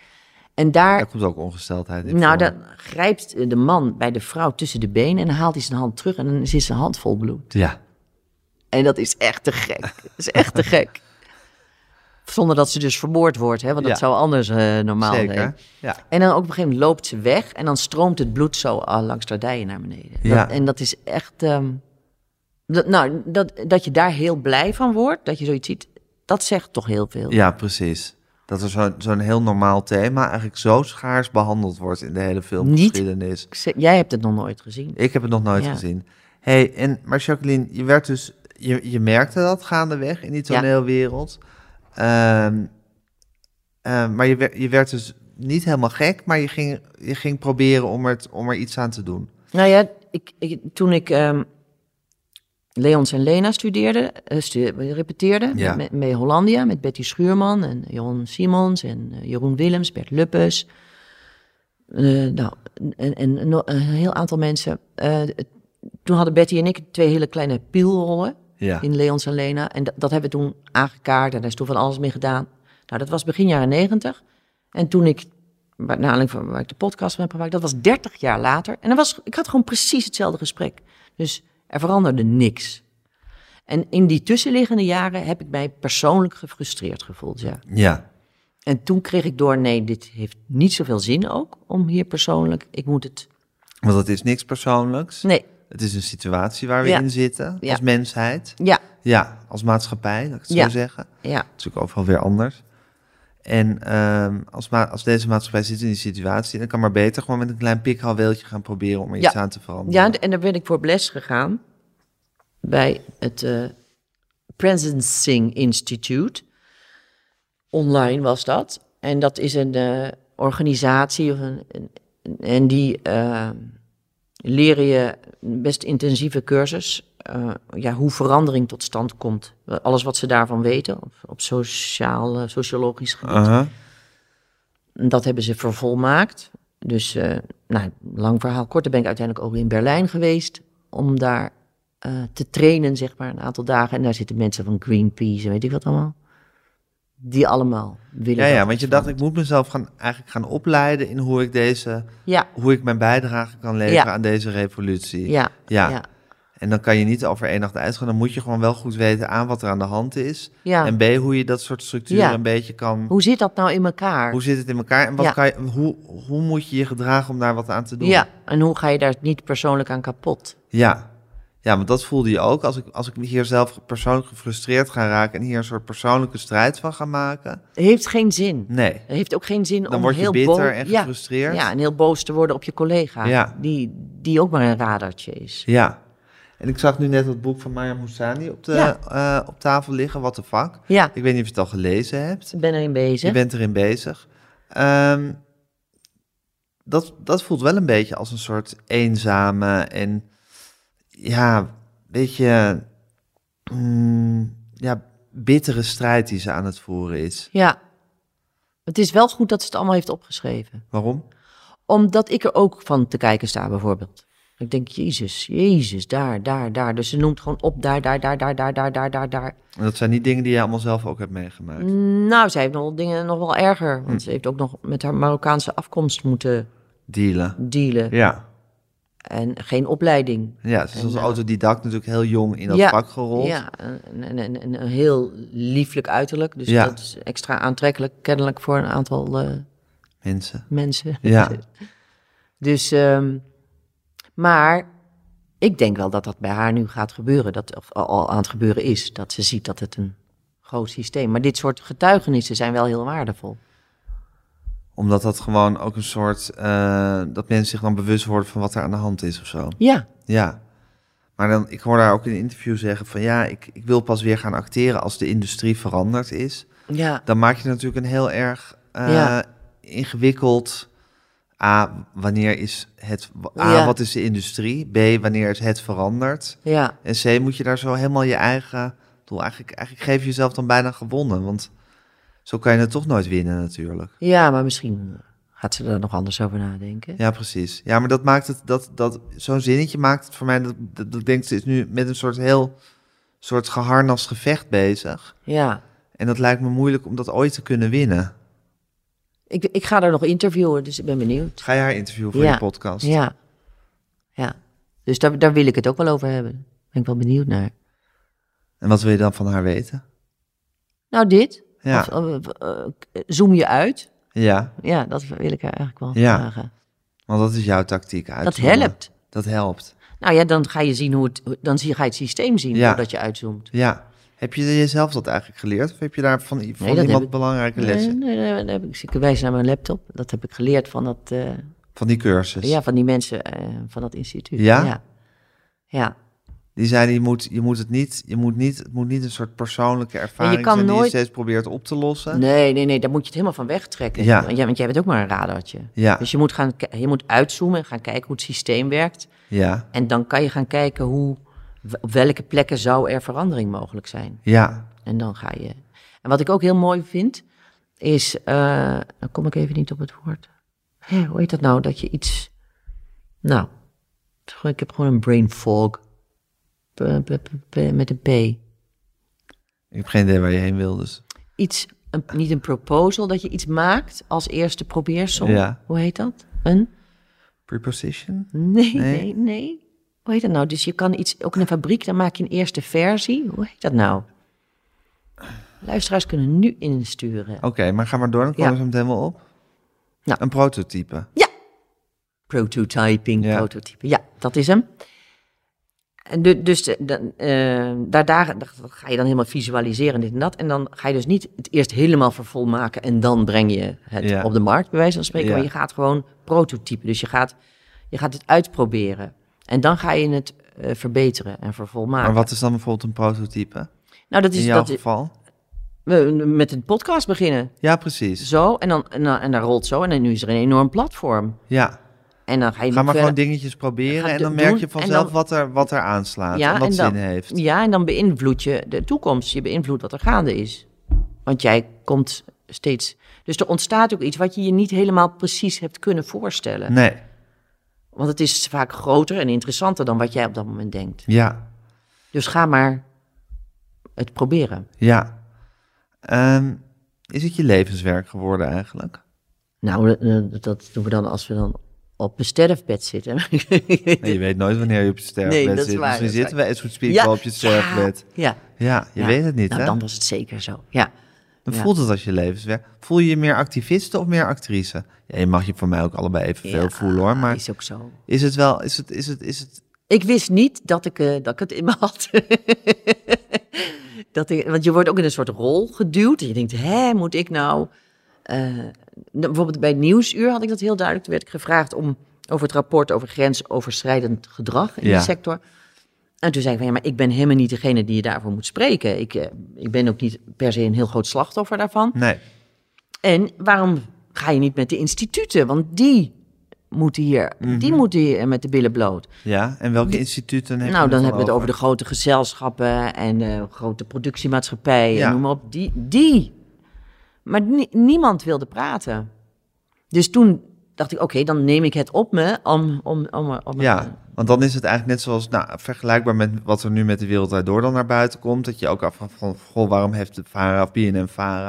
[SPEAKER 3] En daar
[SPEAKER 2] daar komt ook ongesteldheid in.
[SPEAKER 3] nou,
[SPEAKER 2] voor.
[SPEAKER 3] dan grijpt eh, de man bij de vrouw tussen de benen en haalt hij zijn hand terug en dan is zijn hand vol bloed.
[SPEAKER 2] Ja,
[SPEAKER 3] En dat is echt te gek. Dat is echt te gek. Zonder dat ze dus vermoord wordt, hè? want dat
[SPEAKER 2] Ja.
[SPEAKER 3] zou anders eh, normaal zijn.
[SPEAKER 2] zeker. Ja,
[SPEAKER 3] En dan ook op een gegeven moment loopt ze weg en dan stroomt het bloed zo ah, langs de dijen naar beneden. Dat-
[SPEAKER 2] Ja.
[SPEAKER 3] en dat is echt. ehm, dat, nou, dat, dat je daar heel blij van wordt, dat je zoiets ziet, dat zegt toch heel veel.
[SPEAKER 2] ja, precies. Dat er zo- zo'n heel normaal thema eigenlijk zo schaars behandeld wordt in de hele filmgeschiedenis.
[SPEAKER 3] Ik zeg- Jij hebt het nog nooit gezien.
[SPEAKER 2] Ik heb het nog nooit
[SPEAKER 3] Ja.
[SPEAKER 2] gezien. Hey, en, maar Jacqueline, je werd dus, je, je merkte dat gaandeweg in die
[SPEAKER 3] Ja.
[SPEAKER 2] toneelwereld. Ehm, ehm, maar je, wer- je werd dus niet helemaal gek, maar je ging, je ging proberen om, het, om er iets aan te doen.
[SPEAKER 3] Nou ja, ik, ik- toen ik ehm, Leons en Lena studeerde, eh, stu- repeteerde
[SPEAKER 2] Ja.
[SPEAKER 3] met, met Hollandia, met Betty Schuurman en Jon Simons en eh, Jeroen Willems, Bert Luppes. Eh, nou, en, en no- een heel aantal mensen. Eh, toen hadden Betty en ik twee hele kleine pielrollen
[SPEAKER 2] Ja.
[SPEAKER 3] in Leons en Lena. En dat, dat hebben we toen aangekaart en daar is toen van alles mee gedaan. Nou, dat was begin jaren negentig. En toen ik, bij- naar aanleiding van waar ik de podcast van heb gemaakt, dat was dertig jaar later. En dat was, ik had gewoon precies hetzelfde gesprek. Dus er veranderde niks. En in die tussenliggende jaren heb ik mij persoonlijk gefrustreerd gevoeld, ja.
[SPEAKER 2] Ja.
[SPEAKER 3] En toen kreeg ik door, nee, dit heeft niet zoveel zin ook, om hier persoonlijk, ik moet het...
[SPEAKER 2] Want het is niks persoonlijks.
[SPEAKER 3] Nee,
[SPEAKER 2] Het is een situatie waar we
[SPEAKER 3] Hm. Ja.
[SPEAKER 2] in zitten,
[SPEAKER 3] Ja.
[SPEAKER 2] als mensheid.
[SPEAKER 3] ja,
[SPEAKER 2] Ja, als maatschappij, dat ik het
[SPEAKER 3] Ja.
[SPEAKER 2] zo zeggen.
[SPEAKER 3] ja,
[SPEAKER 2] natuurlijk overal weer anders. En ehm, als, ma- als deze maatschappij zit in die situatie, dan kan maar beter gewoon met een klein pikhalweeltje gaan proberen om er
[SPEAKER 3] Ja.
[SPEAKER 2] iets aan te veranderen.
[SPEAKER 3] ja. En daar ben ik voor les gegaan bij het eh Presencing Institute. Online was dat. En dat is een eh, organisatie. Of een, een- en die eh, leren je een best intensieve cursus. eh, ja, hoe verandering tot stand komt. Alles wat ze daarvan weten op, op sociaal, eh, sociologisch gebied.
[SPEAKER 2] Aha.
[SPEAKER 3] Dat hebben ze vervolmaakt. Dus, eh, nou, lang verhaal kort, daar ben ik uiteindelijk ook in Berlijn geweest om daar eh, te trainen, zeg maar, een aantal dagen. En daar zitten mensen van Greenpeace en weet ik wat allemaal. Die allemaal
[SPEAKER 2] Ja,
[SPEAKER 3] willen.
[SPEAKER 2] ja,
[SPEAKER 3] dat
[SPEAKER 2] want je
[SPEAKER 3] het
[SPEAKER 2] dacht, ik moet mezelf gaan, eigenlijk gaan opleiden in hoe ik, deze,
[SPEAKER 3] verandert.
[SPEAKER 2] hoe ik mijn bijdrage kan leveren
[SPEAKER 3] Ja.
[SPEAKER 2] aan deze revolutie.
[SPEAKER 3] Ja, ja,
[SPEAKER 2] Ja.
[SPEAKER 3] ja.
[SPEAKER 2] En dan kan je niet over één nacht uitgaan. Dan moet je gewoon wel goed weten aan wat er aan de hand is.
[SPEAKER 3] Ja.
[SPEAKER 2] En B, hoe je dat soort structuren
[SPEAKER 3] Ja.
[SPEAKER 2] een beetje kan... Hoe,
[SPEAKER 3] Hoe zit dat nou in elkaar?
[SPEAKER 2] zit het in elkaar? En wat
[SPEAKER 3] Ja.
[SPEAKER 2] kan je, hoe, hoe moet je je gedragen om daar wat aan te doen?
[SPEAKER 3] ja, en hoe ga je daar niet persoonlijk aan kapot?
[SPEAKER 2] Ja, ja want dat voelde je ook. Als ik, als ik me hier zelf persoonlijk gefrustreerd ga raken en hier een soort persoonlijke strijd van ga maken.
[SPEAKER 3] Heeft geen zin.
[SPEAKER 2] Nee.
[SPEAKER 3] Het heeft ook geen zin
[SPEAKER 2] Dan
[SPEAKER 3] om
[SPEAKER 2] word je
[SPEAKER 3] heel
[SPEAKER 2] bitter
[SPEAKER 3] boos...
[SPEAKER 2] en
[SPEAKER 3] ja,
[SPEAKER 2] gefrustreerd.
[SPEAKER 3] Ja, en heel boos te worden op je collega.
[SPEAKER 2] Ja.
[SPEAKER 3] Die, die ook maar een radertje is.
[SPEAKER 2] Ja. En ik zag nu net dat boek van Mariam Moussani op, de, eh, op tafel liggen. What the fuck?
[SPEAKER 3] Ja,
[SPEAKER 2] Ik weet niet of je het al gelezen hebt.
[SPEAKER 3] ik ben erin bezig.
[SPEAKER 2] Je bent erin bezig. Ehm, dat, dat voelt wel een beetje als een soort eenzame en ja, beetje mm, ja, bittere strijd die ze aan het voeren is.
[SPEAKER 3] Ja. Het is wel goed dat ze het allemaal heeft opgeschreven.
[SPEAKER 2] Waarom?
[SPEAKER 3] Omdat ik er ook van te kijken sta, bijvoorbeeld. Ik denk, jezus, jezus, daar, daar, daar. Dus ze noemt gewoon op, daar, daar, daar, daar, daar, daar, daar, daar, daar.
[SPEAKER 2] En dat zijn niet dingen die je allemaal zelf ook hebt meegemaakt.
[SPEAKER 3] Nou, zij heeft nog wel dingen nog wel erger. Want ze heeft ook nog met haar Marokkaanse afkomst moeten
[SPEAKER 2] Dealen.
[SPEAKER 3] dealen.
[SPEAKER 2] Ja.
[SPEAKER 3] En geen opleiding.
[SPEAKER 2] Ja, ze is
[SPEAKER 3] En,
[SPEAKER 2] als
[SPEAKER 3] eh,
[SPEAKER 2] autodidact natuurlijk heel jong in dat
[SPEAKER 3] Ja,
[SPEAKER 2] vak gerold.
[SPEAKER 3] Ja, en, en, en, en een heel lieflijk uiterlijk. Dus
[SPEAKER 2] Ja.
[SPEAKER 3] dat is extra aantrekkelijk, kennelijk, voor een aantal eh,
[SPEAKER 2] Mensen.
[SPEAKER 3] mensen.
[SPEAKER 2] Ja.
[SPEAKER 3] Dus, ehm, maar ik denk wel dat dat bij haar nu gaat gebeuren, dat, of al- al aan het gebeuren is, dat ze ziet dat het een groot systeem. Maar dit soort getuigenissen zijn wel heel waardevol.
[SPEAKER 2] Omdat dat gewoon ook een soort, eh, dat mensen zich dan bewust worden van wat er aan de hand is of zo.
[SPEAKER 3] Ja,
[SPEAKER 2] Ja. Maar dan, ik hoor daar ook in een interview zeggen van ja, ik, ik wil pas weer gaan acteren als de industrie veranderd is.
[SPEAKER 3] ja,
[SPEAKER 2] Dan maak je natuurlijk een heel erg eh,
[SPEAKER 3] Ja.
[SPEAKER 2] ingewikkeld. A, wanneer is het. A,
[SPEAKER 3] Ja.
[SPEAKER 2] wat is de industrie? B, wanneer is het veranderd?
[SPEAKER 3] ja,
[SPEAKER 2] En C, moet je daar zo helemaal je eigen doel. Eigenlijk, eigenlijk geef je jezelf dan bijna gewonnen. Want zo kan je het toch nooit winnen, natuurlijk.
[SPEAKER 3] ja, maar misschien eh, gaat ze er nog anders over nadenken.
[SPEAKER 2] Ja, precies. Ja, maar dat maakt het, dat, dat, zo'n zinnetje maakt het voor mij, dat, dat, dat ik denk ze is nu met een soort heel, soort geharnast gevecht bezig.
[SPEAKER 3] Ja,
[SPEAKER 2] En dat lijkt me moeilijk om dat ooit te kunnen winnen.
[SPEAKER 3] ik, ik ga haar nog interviewen, dus ik ben benieuwd.
[SPEAKER 2] Ga je haar interviewen voor
[SPEAKER 3] Ja.
[SPEAKER 2] je podcast?
[SPEAKER 3] Ja, ja. Dus daar, daar wil ik het ook wel over hebben. Ben ik wel benieuwd naar.
[SPEAKER 2] En wat wil je dan van haar weten?
[SPEAKER 3] Nou, dit.
[SPEAKER 2] Ja.
[SPEAKER 3] Of, eh, eh, eh, zoom je uit.
[SPEAKER 2] Ja,
[SPEAKER 3] Ja, dat wil ik haar eigenlijk wel
[SPEAKER 2] Ja.
[SPEAKER 3] vragen.
[SPEAKER 2] want dat is jouw tactiek
[SPEAKER 3] Dat
[SPEAKER 2] uitzoomen.
[SPEAKER 3] helpt.
[SPEAKER 2] Dat helpt,
[SPEAKER 3] Nou ja, dan ga je zien hoe het, dan zie, ga je het systeem zien
[SPEAKER 2] Ja.
[SPEAKER 3] doordat je uitzoomt.
[SPEAKER 2] ja. Heb je jezelf dat eigenlijk geleerd? Of heb je daar van, i- van
[SPEAKER 3] dat heb
[SPEAKER 2] iemand
[SPEAKER 3] ik-
[SPEAKER 2] belangrijke
[SPEAKER 3] Nee,
[SPEAKER 2] lessen?
[SPEAKER 3] nee, nee, nee, ik zit te wijzen naar mijn laptop. Dat heb ik geleerd van, dat, eh,
[SPEAKER 2] Van die cursus?
[SPEAKER 3] ja, van die mensen eh, van dat instituut.
[SPEAKER 2] Ja?
[SPEAKER 3] Ja. Ja.
[SPEAKER 2] Die zeiden, je moet, je moet het niet, je moet niet, het moet niet een soort persoonlijke ervaring
[SPEAKER 3] kan
[SPEAKER 2] zijn die je
[SPEAKER 3] nooit-
[SPEAKER 2] steeds probeert op te lossen.
[SPEAKER 3] Nee, nee, nee, daar moet je het helemaal van wegtrekken.
[SPEAKER 2] Ja.
[SPEAKER 3] Want, jij, want jij bent ook maar een radartje.
[SPEAKER 2] Ja.
[SPEAKER 3] Dus je moet, gaan, ki- je moet uitzoomen en gaan kijken hoe het systeem werkt.
[SPEAKER 2] Ja,
[SPEAKER 3] En dan kan je gaan kijken hoe, op welke plekken zou er verandering mogelijk zijn.
[SPEAKER 2] ja.
[SPEAKER 3] En dan ga je. En wat ik ook heel mooi vind, is. eh, dan kom ik even niet op het woord. Hè, hoe heet dat nou? Dat je iets. Nou, ik heb gewoon een brain fog. P- p- p- p- Met een P.
[SPEAKER 2] Ik heb geen idee waar je heen wil, dus.
[SPEAKER 3] Iets, een, niet een proposal, dat je iets maakt als eerste probeersel.
[SPEAKER 2] Ja.
[SPEAKER 3] Hoe heet dat? Een?
[SPEAKER 2] Preposition?
[SPEAKER 3] Nee,
[SPEAKER 2] Nee.
[SPEAKER 3] nee, nee, Hoe heet dat nou? Dus je kan iets, ook in een fabriek, dan maak je een eerste versie. Hoe heet dat nou? Luisteraars kunnen nu insturen.
[SPEAKER 2] Oké, maar ga maar door, dan komen
[SPEAKER 3] Ja.
[SPEAKER 2] ze hem helemaal op.
[SPEAKER 3] Nou.
[SPEAKER 2] Een prototype.
[SPEAKER 3] Prototyping,
[SPEAKER 2] Ja.
[SPEAKER 3] prototype. Ja, dat is hem. En du- dus eh, dan, eh, daar, daar dat ga je dan helemaal visualiseren, dit en dat. En dan ga je dus niet het eerst helemaal vervolmaken en dan breng je het
[SPEAKER 2] Ja.
[SPEAKER 3] op de markt, bij wijze van spreken.
[SPEAKER 2] Ja.
[SPEAKER 3] Maar je gaat gewoon prototypen. Dus je gaat, je gaat het uitproberen. En dan ga je het eh, verbeteren en vervolmaken.
[SPEAKER 2] Maar wat is dan bijvoorbeeld een prototype?
[SPEAKER 3] nou, dat
[SPEAKER 2] In
[SPEAKER 3] is
[SPEAKER 2] jouw
[SPEAKER 3] dat,
[SPEAKER 2] geval?
[SPEAKER 3] we met een podcast beginnen.
[SPEAKER 2] Ja, precies.
[SPEAKER 3] Zo, en dan, en dan en dan rolt zo. En dan, nu is er een enorm platform.
[SPEAKER 2] Ja.
[SPEAKER 3] En dan ga je
[SPEAKER 2] Ga
[SPEAKER 3] nog
[SPEAKER 2] maar
[SPEAKER 3] verder-
[SPEAKER 2] gewoon dingetjes proberen
[SPEAKER 3] Ga
[SPEAKER 2] en
[SPEAKER 3] do-
[SPEAKER 2] dan merk je
[SPEAKER 3] doen en
[SPEAKER 2] vanzelf
[SPEAKER 3] dan-
[SPEAKER 2] wat, er, wat er aanslaat en wat
[SPEAKER 3] en
[SPEAKER 2] zin heeft.
[SPEAKER 3] Ja, en dan beïnvloed je de toekomst. Je beïnvloedt wat er gaande is. Want jij komt steeds... Dus er ontstaat ook iets wat je je niet helemaal precies hebt kunnen voorstellen.
[SPEAKER 2] Nee,
[SPEAKER 3] Want het is vaak groter en interessanter dan wat jij op dat moment denkt.
[SPEAKER 2] ja,
[SPEAKER 3] Dus ga maar het proberen.
[SPEAKER 2] ja. Ehm, is het je levenswerk geworden eigenlijk? eh,
[SPEAKER 3] Nou, eh, dat doen we dan als we dan op mijn sterfbed zitten.
[SPEAKER 2] Nee, je weet nooit wanneer je op je sterfbed
[SPEAKER 3] Nee, dat is
[SPEAKER 2] zit. dus
[SPEAKER 3] waar,
[SPEAKER 2] nu
[SPEAKER 3] dat is
[SPEAKER 2] zitten
[SPEAKER 3] waar.
[SPEAKER 2] wij as we speak wel op je sterfbed.
[SPEAKER 3] Ja, ja.
[SPEAKER 2] Ja, je
[SPEAKER 3] ja.
[SPEAKER 2] weet het niet,
[SPEAKER 3] nou,
[SPEAKER 2] hè?
[SPEAKER 3] dan was het zeker zo, ja.
[SPEAKER 2] Dan
[SPEAKER 3] ja.
[SPEAKER 2] voelt het als je levenswerk. Voel je je meer activiste of meer actrice? Ja, je mag je voor mij ook allebei evenveel
[SPEAKER 3] Ja,
[SPEAKER 2] voelen, hoor. Maar
[SPEAKER 3] is ook zo.
[SPEAKER 2] is het wel... Is het, is het, is het,
[SPEAKER 3] Ik wist niet dat ik, eh, dat ik het in me had. dat ik, want je wordt ook in een soort rol geduwd. En je denkt, hè, moet ik nou... eh, nou, bijvoorbeeld bij Nieuwsuur had ik dat heel duidelijk. Toen werd ik gevraagd om over het rapport over grensoverschrijdend gedrag in
[SPEAKER 2] Ja.
[SPEAKER 3] die sector. En toen zei ik van, ja, maar ik ben helemaal niet degene die je daarvoor moet spreken. Ik, eh, ik ben ook niet per se een heel groot slachtoffer daarvan.
[SPEAKER 2] nee.
[SPEAKER 3] En waarom ga je niet met de instituten? Want die moeten hier, die moeten hier met de billen bloot.
[SPEAKER 2] Ja, en welke instituten heb
[SPEAKER 3] Nou,
[SPEAKER 2] je
[SPEAKER 3] dan hebben we het over de grote gezelschappen en eh, grote productiemaatschappijen,
[SPEAKER 2] Ja.
[SPEAKER 3] noem maar op. Die, die. Maar ni- niemand wilde praten. Dus toen dacht ik, oké, dan neem ik het op me om... om, om, om
[SPEAKER 2] Ja, want dan is het eigenlijk net zoals, nou, vergelijkbaar met wat er nu met de wereld daardoor dan naar buiten komt. Dat je ook af van, van goh, waarom heeft de VARA of BNM VARA?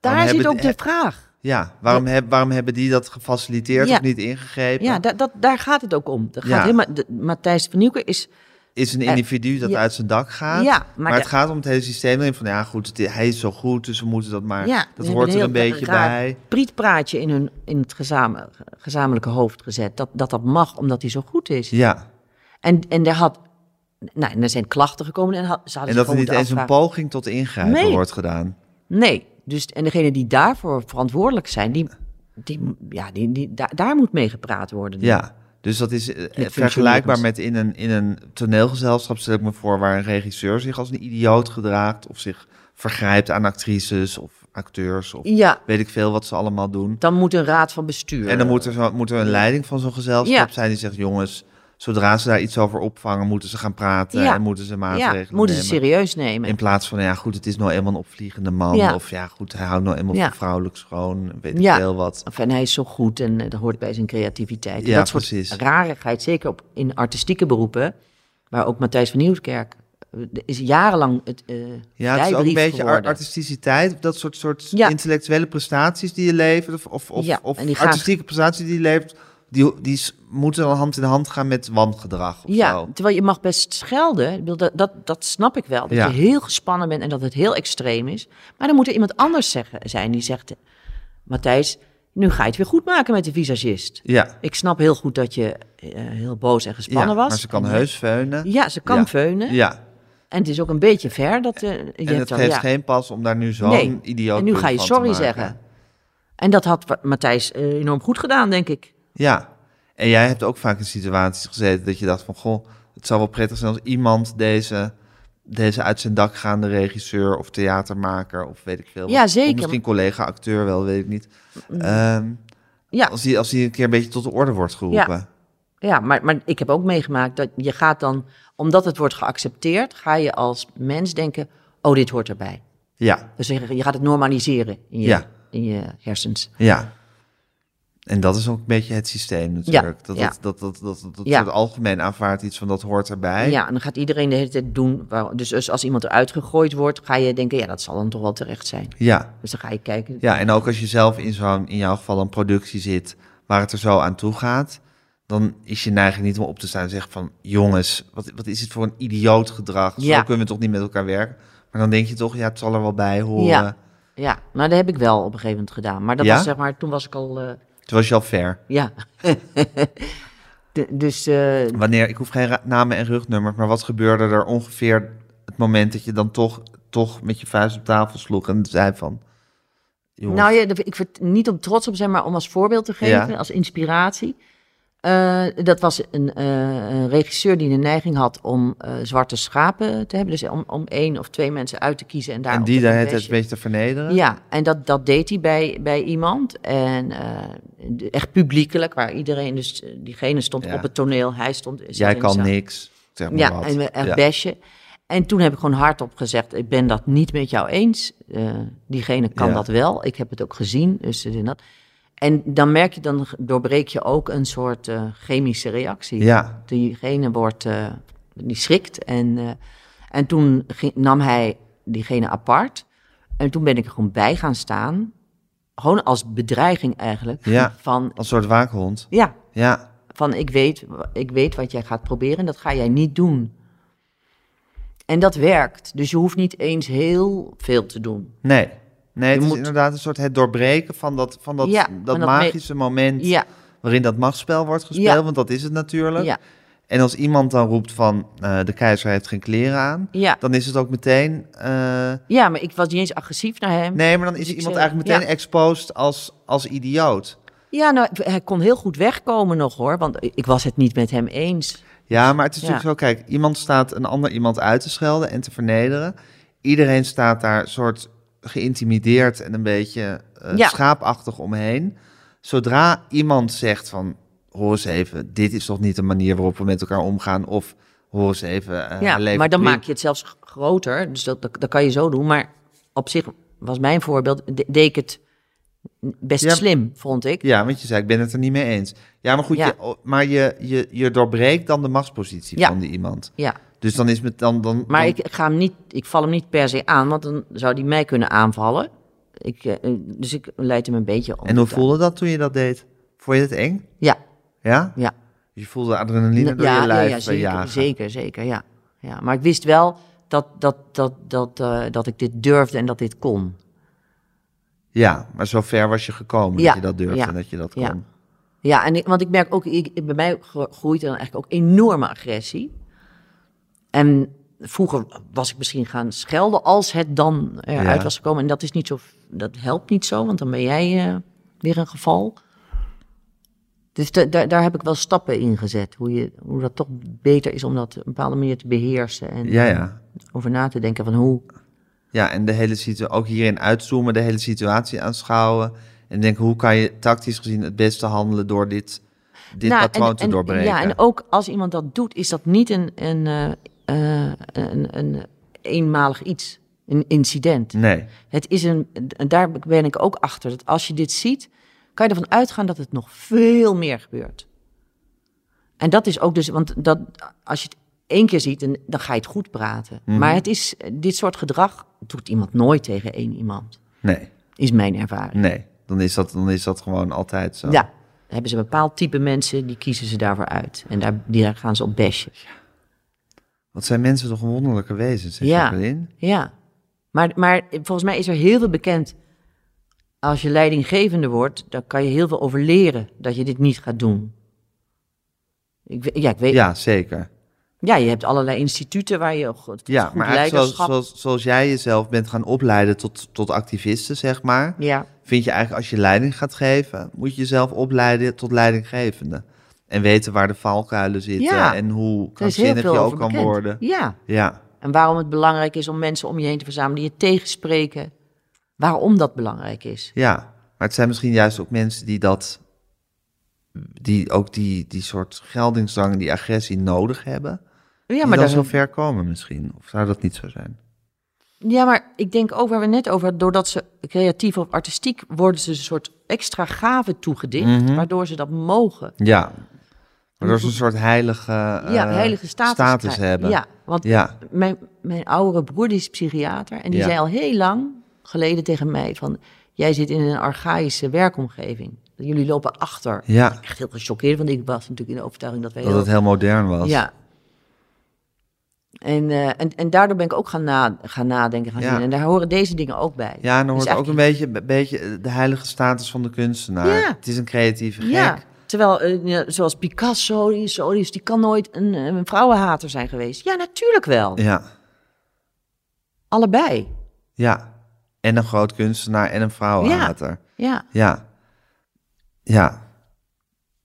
[SPEAKER 2] Waarom
[SPEAKER 3] Daar zit
[SPEAKER 2] hebben
[SPEAKER 3] ook de
[SPEAKER 2] eh,
[SPEAKER 3] vraag.
[SPEAKER 2] Ja, waarom, heb, waarom hebben die dat gefaciliteerd
[SPEAKER 3] Ja.
[SPEAKER 2] of niet ingegrepen?
[SPEAKER 3] Ja, da- dat, daar gaat het ook om. Dat
[SPEAKER 2] Ja.
[SPEAKER 3] gaat helemaal, de, Matthijs van Nieuwker is...
[SPEAKER 2] is een individu dat
[SPEAKER 3] Eh, ja.
[SPEAKER 2] uit zijn dak gaat.
[SPEAKER 3] Ja,
[SPEAKER 2] maar
[SPEAKER 3] maar
[SPEAKER 2] het
[SPEAKER 3] de-
[SPEAKER 2] gaat om het hele systeem. erin Van ja, goed, het, hij is zo goed, dus we moeten dat maar.
[SPEAKER 3] Ja,
[SPEAKER 2] dat
[SPEAKER 3] we
[SPEAKER 2] hoort er een
[SPEAKER 3] hebben heel
[SPEAKER 2] beetje
[SPEAKER 3] raar
[SPEAKER 2] bij.
[SPEAKER 3] prietpraatje in, hun, in het gezame- gezamenlijke hoofd gezet. Dat, dat dat mag, omdat hij zo goed is.
[SPEAKER 2] Ja,
[SPEAKER 3] En, en daar had... Nou, en er zijn klachten gekomen en had, ze hadden
[SPEAKER 2] en
[SPEAKER 3] zich
[SPEAKER 2] dat er
[SPEAKER 3] gewoon
[SPEAKER 2] niet eens
[SPEAKER 3] moeten
[SPEAKER 2] een
[SPEAKER 3] afvragen.
[SPEAKER 2] poging tot ingrijpen
[SPEAKER 3] Nee.
[SPEAKER 2] wordt gedaan.
[SPEAKER 3] Nee, dus, en degenen die daarvoor verantwoordelijk zijn, die, die, ja, die, die, daar, daar moet mee gepraat worden.
[SPEAKER 2] Ja, dus dat is eh, vergelijkbaar
[SPEAKER 3] functionerend.
[SPEAKER 2] met in een, in een toneelgezelschap, stel ik me voor, waar een regisseur zich als een idioot gedraagt of zich vergrijpt aan actrices of acteurs of
[SPEAKER 3] Ja,
[SPEAKER 2] weet ik veel wat ze allemaal doen.
[SPEAKER 3] dan moet een raad van bestuur.
[SPEAKER 2] En dan moet er, zo, moet er een leiding van zo'n gezelschap
[SPEAKER 3] Ja.
[SPEAKER 2] zijn die zegt, jongens, zodra ze daar iets over opvangen, moeten ze gaan praten
[SPEAKER 3] Ja.
[SPEAKER 2] en moeten ze maatregelen
[SPEAKER 3] ja, moeten ze
[SPEAKER 2] nemen.
[SPEAKER 3] serieus nemen.
[SPEAKER 2] In plaats van, nou ja goed, het is nou eenmaal een opvliegende man.
[SPEAKER 3] Ja.
[SPEAKER 2] Of ja goed, hij houdt nou eenmaal
[SPEAKER 3] Ja.
[SPEAKER 2] van vrouwelijk schoon, weet ik
[SPEAKER 3] Ja.
[SPEAKER 2] veel wat.
[SPEAKER 3] Of, en hij is zo goed en eh, dat hoort bij zijn creativiteit. En
[SPEAKER 2] Ja,
[SPEAKER 3] dat soort
[SPEAKER 2] precies.
[SPEAKER 3] rarigheid, zeker op, in artistieke beroepen, waar ook Matthijs van Nieuwkerk eh, is jarenlang het eh
[SPEAKER 2] Ja, het is ook een
[SPEAKER 3] vrijbrief
[SPEAKER 2] beetje ar-
[SPEAKER 3] geworden.
[SPEAKER 2] artisticiteit, dat soort, soort
[SPEAKER 3] Ja.
[SPEAKER 2] intellectuele prestaties die je levert, of, of, of,
[SPEAKER 3] Ja,
[SPEAKER 2] of
[SPEAKER 3] en die gaan-
[SPEAKER 2] artistieke prestaties die je levert, die, die s- moeten dan hand in hand gaan met wangedrag of
[SPEAKER 3] Ja,
[SPEAKER 2] zo.
[SPEAKER 3] terwijl je mag best schelden. Ik bedoel, Dat, dat, dat snap ik wel. Dat
[SPEAKER 2] Ja.
[SPEAKER 3] je heel gespannen bent en dat het heel extreem is. Maar dan moet er iemand anders zeggen, zijn die zegt... Matthijs, nu ga je het weer goed maken met de visagist.
[SPEAKER 2] Ja,
[SPEAKER 3] Ik snap heel goed dat je eh, heel boos en
[SPEAKER 2] ja
[SPEAKER 3] gespannen was.
[SPEAKER 2] maar ze kan
[SPEAKER 3] En,
[SPEAKER 2] heus veunen.
[SPEAKER 3] Ja, ze kan
[SPEAKER 2] Ja.
[SPEAKER 3] veunen.
[SPEAKER 2] Ja,
[SPEAKER 3] En het is ook een beetje ver. Dat, eh, je
[SPEAKER 2] en
[SPEAKER 3] hebt
[SPEAKER 2] het
[SPEAKER 3] dan,
[SPEAKER 2] geeft
[SPEAKER 3] ja.
[SPEAKER 2] geen pas om daar nu zo'n
[SPEAKER 3] Nee.
[SPEAKER 2] idioot
[SPEAKER 3] En nu
[SPEAKER 2] punt
[SPEAKER 3] ga je
[SPEAKER 2] van te
[SPEAKER 3] sorry
[SPEAKER 2] maken.
[SPEAKER 3] zeggen. En dat had Wa- Matthijs eh, enorm goed gedaan, denk ik.
[SPEAKER 2] Ja, en jij hebt ook vaak in situaties gezeten dat je dacht van... goh, het zou wel prettig zijn als iemand deze, deze uit zijn dak gaande regisseur... of theatermaker of weet ik veel. wat.
[SPEAKER 3] Ja, zeker. Mm.
[SPEAKER 2] Of misschien collega-acteur wel, weet ik niet. Ehm,
[SPEAKER 3] Ja,
[SPEAKER 2] als, die, als die een keer een beetje tot de orde wordt geroepen. Ja,
[SPEAKER 3] Ja, maar, maar ik heb ook meegemaakt dat je gaat dan, omdat het wordt geaccepteerd, ga je als mens denken, oh, dit hoort erbij.
[SPEAKER 2] ja.
[SPEAKER 3] Dus je je gaat het normaliseren in je,
[SPEAKER 2] Ja.
[SPEAKER 3] in je hersens.
[SPEAKER 2] En dat is ook een beetje het systeem natuurlijk.
[SPEAKER 3] Ja,
[SPEAKER 2] dat,
[SPEAKER 3] ja.
[SPEAKER 2] dat, dat, dat, dat, dat,
[SPEAKER 3] Ja.
[SPEAKER 2] het algemeen aanvaardt iets van dat hoort erbij.
[SPEAKER 3] Ja, en dan gaat iedereen de hele tijd doen. waar- dus als- als iemand eruit gegooid wordt, ga je denken, ja, dat zal dan toch wel terecht zijn.
[SPEAKER 2] ja.
[SPEAKER 3] Dus dan ga je kijken.
[SPEAKER 2] Ja, en ook als je zelf in zo'n, in jouw geval, een productie zit waar het er zo aan toe gaat, dan is je neiging niet om op te staan en zeggen van, jongens, wat, wat is het voor een idioot gedrag? Zo
[SPEAKER 3] Ja.
[SPEAKER 2] kunnen we toch niet met elkaar werken? Maar dan denk je toch, ja, het zal er wel bij horen.
[SPEAKER 3] ja, ja. nou, dat heb ik wel op een gegeven moment gedaan. Maar dat
[SPEAKER 2] Ja?
[SPEAKER 3] was zeg maar, toen was ik al, eh,
[SPEAKER 2] Toen was je al ver.
[SPEAKER 3] ja. De- dus eh,
[SPEAKER 2] Wanneer, ik hoef geen ra- namen en rugnummers, maar wat gebeurde er ongeveer het moment dat je dan toch, toch met je vuist op tafel sloeg en zei van, jongens,
[SPEAKER 3] Nou ja, dat- ik vert- niet om trots op te zijn, maar om als voorbeeld te geven,
[SPEAKER 2] Ja.
[SPEAKER 3] als inspiratie. Eh, dat was een, eh, een regisseur die de neiging had om eh, zwarte schapen te hebben. Dus om, om één of twee mensen uit te kiezen en daar.
[SPEAKER 2] en
[SPEAKER 3] op
[SPEAKER 2] die
[SPEAKER 3] te
[SPEAKER 2] daar
[SPEAKER 3] gaan
[SPEAKER 2] het een
[SPEAKER 3] bashen.
[SPEAKER 2] beetje te vernederen?
[SPEAKER 3] Ja, en dat, dat deed hij bij, bij iemand. En eh, de- echt publiekelijk, waar iedereen, dus eh, diegene stond
[SPEAKER 2] Ja.
[SPEAKER 3] op het toneel, hij stond. zat
[SPEAKER 2] Jij
[SPEAKER 3] in de
[SPEAKER 2] kan
[SPEAKER 3] zaal.
[SPEAKER 2] niks, zeg maar
[SPEAKER 3] Ja,
[SPEAKER 2] wat.
[SPEAKER 3] en we echt
[SPEAKER 2] Ja.
[SPEAKER 3] bashen. En toen heb ik gewoon hardop gezegd, ik ben dat niet met jou eens. Eh, diegene kan
[SPEAKER 2] Ja.
[SPEAKER 3] dat wel, ik heb het ook gezien. Dus dit en, dat. en dan merk je, dan doorbreek je ook een soort eh, chemische reactie.
[SPEAKER 2] Ja.
[SPEAKER 3] Diegene wordt, eh, die schrikt. En, eh, en toen ging- nam hij diegene apart. En toen ben ik er gewoon bij gaan staan. gewoon als bedreiging eigenlijk.
[SPEAKER 2] Ja.
[SPEAKER 3] Van,
[SPEAKER 2] Als soort waakhond.
[SPEAKER 3] ja,
[SPEAKER 2] Ja,
[SPEAKER 3] van ik weet, ik weet wat jij gaat proberen en dat ga jij niet doen. En dat werkt. Dus je hoeft niet eens heel veel te doen.
[SPEAKER 2] nee. Nee, het
[SPEAKER 3] Je
[SPEAKER 2] is
[SPEAKER 3] moet-
[SPEAKER 2] inderdaad een soort het doorbreken van dat, van dat,
[SPEAKER 3] Ja,
[SPEAKER 2] dat
[SPEAKER 3] van dat me-
[SPEAKER 2] magische moment
[SPEAKER 3] Ja,
[SPEAKER 2] waarin dat machtsspel wordt gespeeld,
[SPEAKER 3] Ja.
[SPEAKER 2] want dat is het natuurlijk.
[SPEAKER 3] ja,
[SPEAKER 2] En als iemand dan roept van eh, de keizer heeft geen kleren aan,
[SPEAKER 3] ja.
[SPEAKER 2] dan is het ook meteen. eh,
[SPEAKER 3] Ja, maar ik was niet eens agressief naar hem.
[SPEAKER 2] nee, maar dan is
[SPEAKER 3] Dus ik
[SPEAKER 2] iemand
[SPEAKER 3] zeg,
[SPEAKER 2] eigenlijk meteen
[SPEAKER 3] ja.
[SPEAKER 2] exposed als, als idioot.
[SPEAKER 3] Ja, nou, hij kon heel goed wegkomen nog hoor, want ik was het niet met hem eens.
[SPEAKER 2] Ja, maar het is
[SPEAKER 3] Ja.
[SPEAKER 2] natuurlijk zo, kijk, iemand staat een ander iemand uit te schelden en te vernederen. Iedereen staat daar soort geïntimideerd en een beetje eh,
[SPEAKER 3] Ja.
[SPEAKER 2] schaapachtig omheen. Zodra iemand zegt van, hoor eens even, dit is toch niet de manier waarop we met elkaar omgaan, of hoor eens even, eh,
[SPEAKER 3] Ja,
[SPEAKER 2] leven
[SPEAKER 3] maar dan
[SPEAKER 2] prima.
[SPEAKER 3] maak je het zelfs g- groter, dus dat, dat, dat kan je zo doen. Maar op zich was mijn voorbeeld, de- deed ik het best
[SPEAKER 2] Ja.
[SPEAKER 3] slim, vond ik.
[SPEAKER 2] Ja, want je zei, ik ben het er niet mee eens. Ja, maar goed,
[SPEAKER 3] Ja.
[SPEAKER 2] Je, maar je, je, je doorbreekt dan de machtspositie
[SPEAKER 3] Ja.
[SPEAKER 2] van die iemand.
[SPEAKER 3] Ja,
[SPEAKER 2] Dus dan is het dan... dan
[SPEAKER 3] maar
[SPEAKER 2] dan-
[SPEAKER 3] ik, ga hem niet, ik val hem niet per se aan, want dan zou hij mij kunnen aanvallen. Ik, eh, dus ik leid hem een beetje om.
[SPEAKER 2] En hoe voelde dat toen je dat deed? Vond je het eng?
[SPEAKER 3] Ja,
[SPEAKER 2] Ja?
[SPEAKER 3] ja.
[SPEAKER 2] Je voelde adrenaline door
[SPEAKER 3] ja,
[SPEAKER 2] je
[SPEAKER 3] ja,
[SPEAKER 2] lijf
[SPEAKER 3] ja,
[SPEAKER 2] eh,
[SPEAKER 3] zeker,
[SPEAKER 2] jagen.
[SPEAKER 3] zeker, zeker, ja. ja. Maar ik wist wel dat, dat, dat, dat, eh, dat ik dit durfde en dat dit kon.
[SPEAKER 2] Ja, maar zo ver was je gekomen
[SPEAKER 3] Ja,
[SPEAKER 2] dat je dat durfde
[SPEAKER 3] ja,
[SPEAKER 2] en dat je dat kon.
[SPEAKER 3] ja. Ja, en ik, want ik merk ook, ik, bij mij gro- groeit er dan eigenlijk ook enorme agressie. En vroeger was ik misschien gaan schelden als het dan eruit
[SPEAKER 2] Ja.
[SPEAKER 3] was gekomen. En dat is niet zo, dat helpt niet zo, want dan ben jij eh, weer een geval. Dus da- daar- daar heb ik wel stappen in gezet. Hoe, je, hoe dat toch beter is om dat op een bepaalde manier te beheersen. En
[SPEAKER 2] Ja, ja.
[SPEAKER 3] over na te denken van hoe.
[SPEAKER 2] Ja, en de hele situatie, ook hierin uitzoomen, de hele situatie aanschouwen. En denken, hoe kan je tactisch gezien het beste handelen door dit, dit
[SPEAKER 3] Nou,
[SPEAKER 2] patroon
[SPEAKER 3] en-
[SPEAKER 2] te
[SPEAKER 3] en-
[SPEAKER 2] doorbreken?
[SPEAKER 3] Ja, en ook als iemand dat doet, is dat niet een, een, eh, eh, een, een eenmalig iets, een incident.
[SPEAKER 2] Nee,
[SPEAKER 3] Het is een, en daar ben ik ook achter, dat als je dit ziet, kan je ervan uitgaan dat het nog veel meer gebeurt. En dat is ook dus, want dat, als je het één keer ziet, dan, dan ga je het goed praten.
[SPEAKER 2] Mhm.
[SPEAKER 3] Maar het is, dit soort gedrag doet iemand nooit tegen één iemand,
[SPEAKER 2] nee,
[SPEAKER 3] is mijn ervaring.
[SPEAKER 2] nee. Dan is dat, dan is dat gewoon altijd zo.
[SPEAKER 3] Ja, hebben ze een bepaald type mensen, die kiezen ze daarvoor uit. En daar, die, daar gaan ze op bashen.
[SPEAKER 2] Wat zijn mensen toch wonderlijke wezens, hè,
[SPEAKER 3] Ja.
[SPEAKER 2] Jacqueline?
[SPEAKER 3] Ja, maar, maar volgens mij is er heel veel bekend. Als je leidinggevende wordt, dan kan je heel veel over leren dat je dit niet gaat doen. Ik, we- ja, ik weet, ja.
[SPEAKER 2] Ja, zeker.
[SPEAKER 3] je hebt allerlei instituten waar je goed,
[SPEAKER 2] Ja,
[SPEAKER 3] goed
[SPEAKER 2] maar eigenlijk
[SPEAKER 3] leiderschap...
[SPEAKER 2] zoals, zoals, zoals jij jezelf bent gaan opleiden tot, tot activisten, zeg maar.
[SPEAKER 3] Ja,
[SPEAKER 2] Vind je eigenlijk als je leiding gaat geven, moet je jezelf opleiden tot leidinggevende. En weten waar de valkuilen zitten
[SPEAKER 3] Ja.
[SPEAKER 2] en hoe
[SPEAKER 3] er is heel
[SPEAKER 2] krankzinnig
[SPEAKER 3] veel
[SPEAKER 2] je
[SPEAKER 3] over
[SPEAKER 2] ook kan
[SPEAKER 3] bekend.
[SPEAKER 2] worden.
[SPEAKER 3] Ja,
[SPEAKER 2] Ja,
[SPEAKER 3] en waarom het belangrijk is om mensen om je heen te verzamelen die je tegenspreken. Waarom dat belangrijk is.
[SPEAKER 2] ja. Maar het zijn misschien juist ook mensen die dat, die ook die, die soort geldingsdrang, die agressie nodig hebben.
[SPEAKER 3] Ja,
[SPEAKER 2] die
[SPEAKER 3] maar
[SPEAKER 2] dan
[SPEAKER 3] daar
[SPEAKER 2] zo ver komen misschien. Of zou dat niet zo zijn?
[SPEAKER 3] Ja, maar ik denk ook waar we net over hadden, doordat ze creatief of artistiek worden ze een soort extra gave toegedicht,
[SPEAKER 2] Mhm.
[SPEAKER 3] waardoor ze dat mogen.
[SPEAKER 2] Ja. Waardoor ze een soort heilige,
[SPEAKER 3] ja,
[SPEAKER 2] eh,
[SPEAKER 3] heilige status, krijgen.
[SPEAKER 2] hebben.
[SPEAKER 3] Ja, want
[SPEAKER 2] ja.
[SPEAKER 3] Mijn, mijn oudere broer die is psychiater en die
[SPEAKER 2] Ja.
[SPEAKER 3] zei al heel lang geleden tegen mij van, jij zit in een archaïsche werkomgeving. Jullie lopen achter.
[SPEAKER 2] Ja,
[SPEAKER 3] Echt heel gechoqueerd, want ik was natuurlijk in de overtuiging dat wij
[SPEAKER 2] dat
[SPEAKER 3] heel
[SPEAKER 2] het heel modern was.
[SPEAKER 3] ja. En, eh, en, en daardoor ben ik ook gaan, na, gaan nadenken, gaan
[SPEAKER 2] Ja.
[SPEAKER 3] zien. En daar horen deze dingen ook bij.
[SPEAKER 2] Ja, en dan
[SPEAKER 3] Dus
[SPEAKER 2] wordt ook
[SPEAKER 3] eigenlijk-
[SPEAKER 2] een beetje, een beetje eh, de heilige status van de kunstenaar.
[SPEAKER 3] Ja.
[SPEAKER 2] Het is een creatieve gek.
[SPEAKER 3] Ja, terwijl, eh, ja, zoals Picasso, die, is zo, die is- die kan nooit een, eh, een vrouwenhater zijn geweest. Ja, natuurlijk wel.
[SPEAKER 2] Ja.
[SPEAKER 3] Allebei.
[SPEAKER 2] Ja. En een groot kunstenaar en een vrouwenhater.
[SPEAKER 3] Ja.
[SPEAKER 2] Ja. Ja.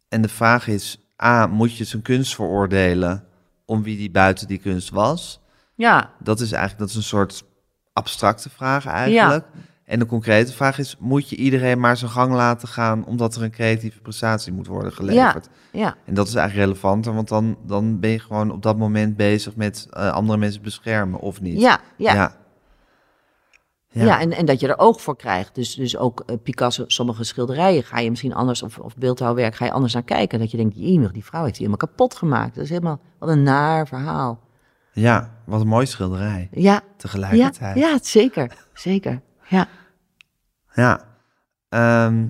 [SPEAKER 2] En de vraag is, A, moet je zijn kunst veroordelen om wie die buiten die kunst was?
[SPEAKER 3] Ja.
[SPEAKER 2] Dat is eigenlijk dat is een soort abstracte vraag eigenlijk. En de concrete vraag is, moet je iedereen maar zijn gang laten gaan omdat er een creatieve prestatie moet worden geleverd?
[SPEAKER 3] Ja.
[SPEAKER 2] En dat is eigenlijk relevanter, want dan, dan ben je gewoon op dat moment bezig met eh, andere mensen beschermen of niet.
[SPEAKER 3] Ja. Ja. ja.
[SPEAKER 2] ja. Ja.
[SPEAKER 3] en, en dat je er oog voor krijgt. Dus, dus ook eh, Picasso, sommige schilderijen ga je misschien anders, of, of beeldhouwwerk ga je anders naar kijken. Dat je denkt, jemig, die vrouw heeft die helemaal kapot gemaakt. Dat is helemaal, wat een naar verhaal.
[SPEAKER 2] Ja, wat een mooie schilderij
[SPEAKER 3] Ja,
[SPEAKER 2] tegelijkertijd.
[SPEAKER 3] ja, ja zeker. Zeker. Ja.
[SPEAKER 2] Ja. Ehm,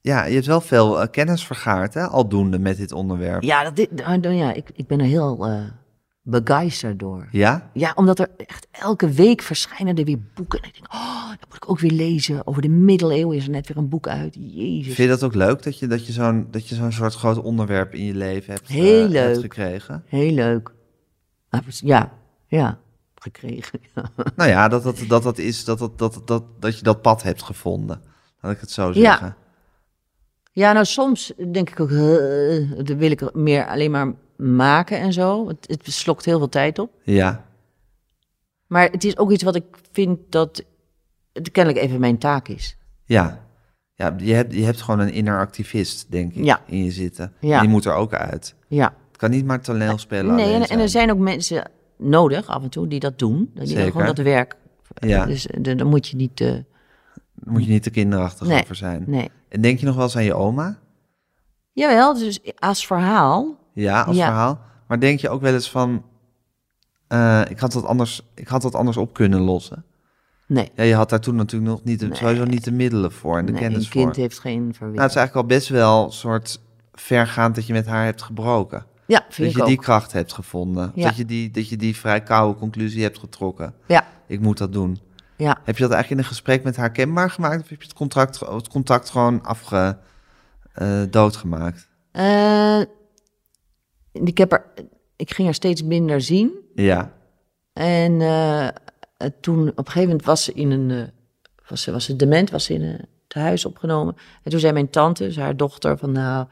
[SPEAKER 2] ja, je hebt wel veel eh, kennis vergaard, hè, aldoende met dit onderwerp.
[SPEAKER 3] Ja, dat, dit- nou, nou ja ik, ik ben er heel eh begeisterd door.
[SPEAKER 2] Ja?
[SPEAKER 3] Ja, omdat er echt elke week verschijnen er weer boeken. En ik denk, oh, dat moet ik ook weer lezen. Over de middeleeuwen is er net weer een boek uit. Jezus.
[SPEAKER 2] Vind je dat ook leuk dat je, dat je zo'n dat je zo'n soort groot onderwerp in je leven hebt, eh,
[SPEAKER 3] Heel leuk.
[SPEAKER 2] hebt gekregen?
[SPEAKER 3] Heel leuk. Maar pres- Ja, ja. Gekregen. ja.
[SPEAKER 2] Nou ja, dat dat, dat, dat is dat, dat, dat, dat, dat je dat pad hebt gevonden. Laat ik het zo
[SPEAKER 3] Ja.
[SPEAKER 2] zeggen.
[SPEAKER 3] Ja, nou soms denk ik ook, eh, dan wil ik er meer alleen maar maken en zo. Het, het slokt heel veel tijd op.
[SPEAKER 2] Ja.
[SPEAKER 3] Maar het is ook iets wat ik vind dat het kennelijk even mijn taak is.
[SPEAKER 2] Ja. Ja, je hebt, je hebt gewoon een inner activist, denk ik,
[SPEAKER 3] Ja.
[SPEAKER 2] in je zitten.
[SPEAKER 3] Ja.
[SPEAKER 2] Die moet er ook uit.
[SPEAKER 3] Ja.
[SPEAKER 2] Het kan niet maar toneel spelen
[SPEAKER 3] Nee,
[SPEAKER 2] alleen
[SPEAKER 3] en, en er
[SPEAKER 2] zijn.
[SPEAKER 3] zijn ook mensen nodig af en toe die dat doen. Die
[SPEAKER 2] Zeker.
[SPEAKER 3] Zeker. gewoon dat werk.
[SPEAKER 2] Ja.
[SPEAKER 3] Dus eh, dan dan moet je niet... eh,
[SPEAKER 2] Daar moet je niet te kinderachtig
[SPEAKER 3] Nee.
[SPEAKER 2] over zijn.
[SPEAKER 3] nee.
[SPEAKER 2] En denk je nog wel eens aan je oma?
[SPEAKER 3] Jawel, dus als verhaal.
[SPEAKER 2] Ja, als
[SPEAKER 3] Ja.
[SPEAKER 2] verhaal. Maar denk je ook wel eens van... eh, ik, had dat anders, ik had dat anders op kunnen lossen.
[SPEAKER 3] Nee.
[SPEAKER 2] Ja, je had daar toen natuurlijk nog niet de, sowieso niet de middelen voor en de
[SPEAKER 3] nee,
[SPEAKER 2] kennis
[SPEAKER 3] een kind
[SPEAKER 2] voor.
[SPEAKER 3] heeft geen verwinning.
[SPEAKER 2] Nou, het is eigenlijk al best wel een soort vergaand dat je met haar hebt gebroken.
[SPEAKER 3] ja, vind
[SPEAKER 2] Dat
[SPEAKER 3] ik
[SPEAKER 2] je
[SPEAKER 3] ook.
[SPEAKER 2] die kracht hebt gevonden.
[SPEAKER 3] Ja.
[SPEAKER 2] Dat, je die, dat je die vrij koude conclusie hebt getrokken.
[SPEAKER 3] Ja,
[SPEAKER 2] Ik moet dat doen.
[SPEAKER 3] ja.
[SPEAKER 2] Heb je dat eigenlijk in een gesprek met haar kenbaar gemaakt? Of heb je het contract, het contact gewoon afge, eh, doodgemaakt?
[SPEAKER 3] Eh, ik, heb er, ik ging haar steeds minder zien.
[SPEAKER 2] Ja,
[SPEAKER 3] En eh, eh, toen, op een gegeven moment was ze in een, eh, was ze, was ze dement, was ze in een tehuis opgenomen. En toen zei mijn tante, dus haar dochter, van nou,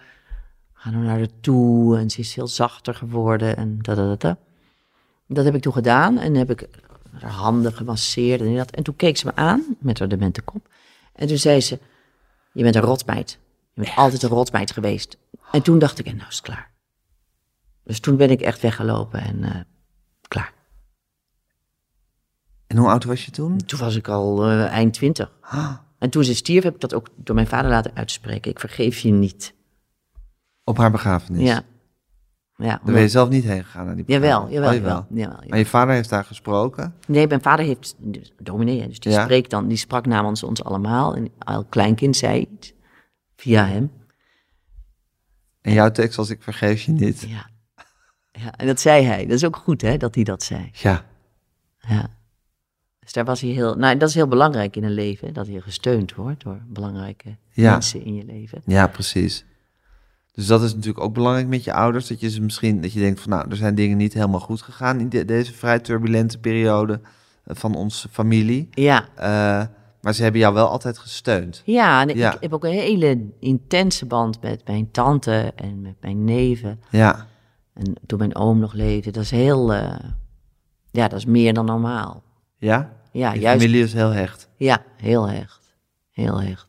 [SPEAKER 3] ga nou naar haar toe. En ze is veel zachter geworden en dat, dat, dat, dat. Dat heb ik toen gedaan en heb ik haar handen gemasseerd en dat. En toen keek ze me aan met haar demente kop. En toen zei ze, je bent een rotmeid. Je bent altijd een rotmeid geweest. En toen dacht ik, en nou is het klaar. Dus toen ben ik echt weggelopen en eh, klaar.
[SPEAKER 2] En hoe oud was je toen?
[SPEAKER 3] Toen was ik al eh, eind twintig.
[SPEAKER 2] Ah.
[SPEAKER 3] En toen ze stierf, heb ik dat ook door mijn vader laten uitspreken. Ik vergeef je niet.
[SPEAKER 2] Op haar begrafenis.
[SPEAKER 3] Ja. Ja,
[SPEAKER 2] Daar ben je zelf niet heen gegaan naar die
[SPEAKER 3] Jawel,
[SPEAKER 2] begrafenis?
[SPEAKER 3] jawel,
[SPEAKER 2] Oh,
[SPEAKER 3] jawel. jawel,
[SPEAKER 2] Maar je vader heeft daar gesproken.
[SPEAKER 3] Nee, mijn vader heeft dus, dominee, hè, dus die
[SPEAKER 2] Ja.
[SPEAKER 3] spreekt dan, die sprak namens ons allemaal. En elk kleinkind zei iets via hem.
[SPEAKER 2] En jouw tekst was ik vergeef je niet.
[SPEAKER 3] Ja. ja. En dat zei hij. Dat is ook goed, hè, dat hij dat zei.
[SPEAKER 2] Ja.
[SPEAKER 3] Ja. Dus daar was hij heel. Nou, dat is heel belangrijk in een leven, hè, dat je gesteund wordt door belangrijke
[SPEAKER 2] Ja.
[SPEAKER 3] mensen in je leven.
[SPEAKER 2] Ja, precies. Dus dat is natuurlijk ook belangrijk met je ouders. Dat je ze misschien, dat je denkt van nou, er zijn dingen niet helemaal goed gegaan in de- deze vrij turbulente periode eh, van onze familie.
[SPEAKER 3] Ja.
[SPEAKER 2] Eh, maar ze hebben jou wel altijd gesteund.
[SPEAKER 3] Ja, en
[SPEAKER 2] Ja.
[SPEAKER 3] ik heb ook een hele intense band met mijn tante en met mijn neven.
[SPEAKER 2] Ja.
[SPEAKER 3] En toen mijn oom nog leefde, dat is heel... eh, ja, dat is meer dan normaal.
[SPEAKER 2] Ja?
[SPEAKER 3] Ja,
[SPEAKER 2] Je
[SPEAKER 3] juist.
[SPEAKER 2] familie is heel hecht.
[SPEAKER 3] Ja, heel hecht. Heel hecht.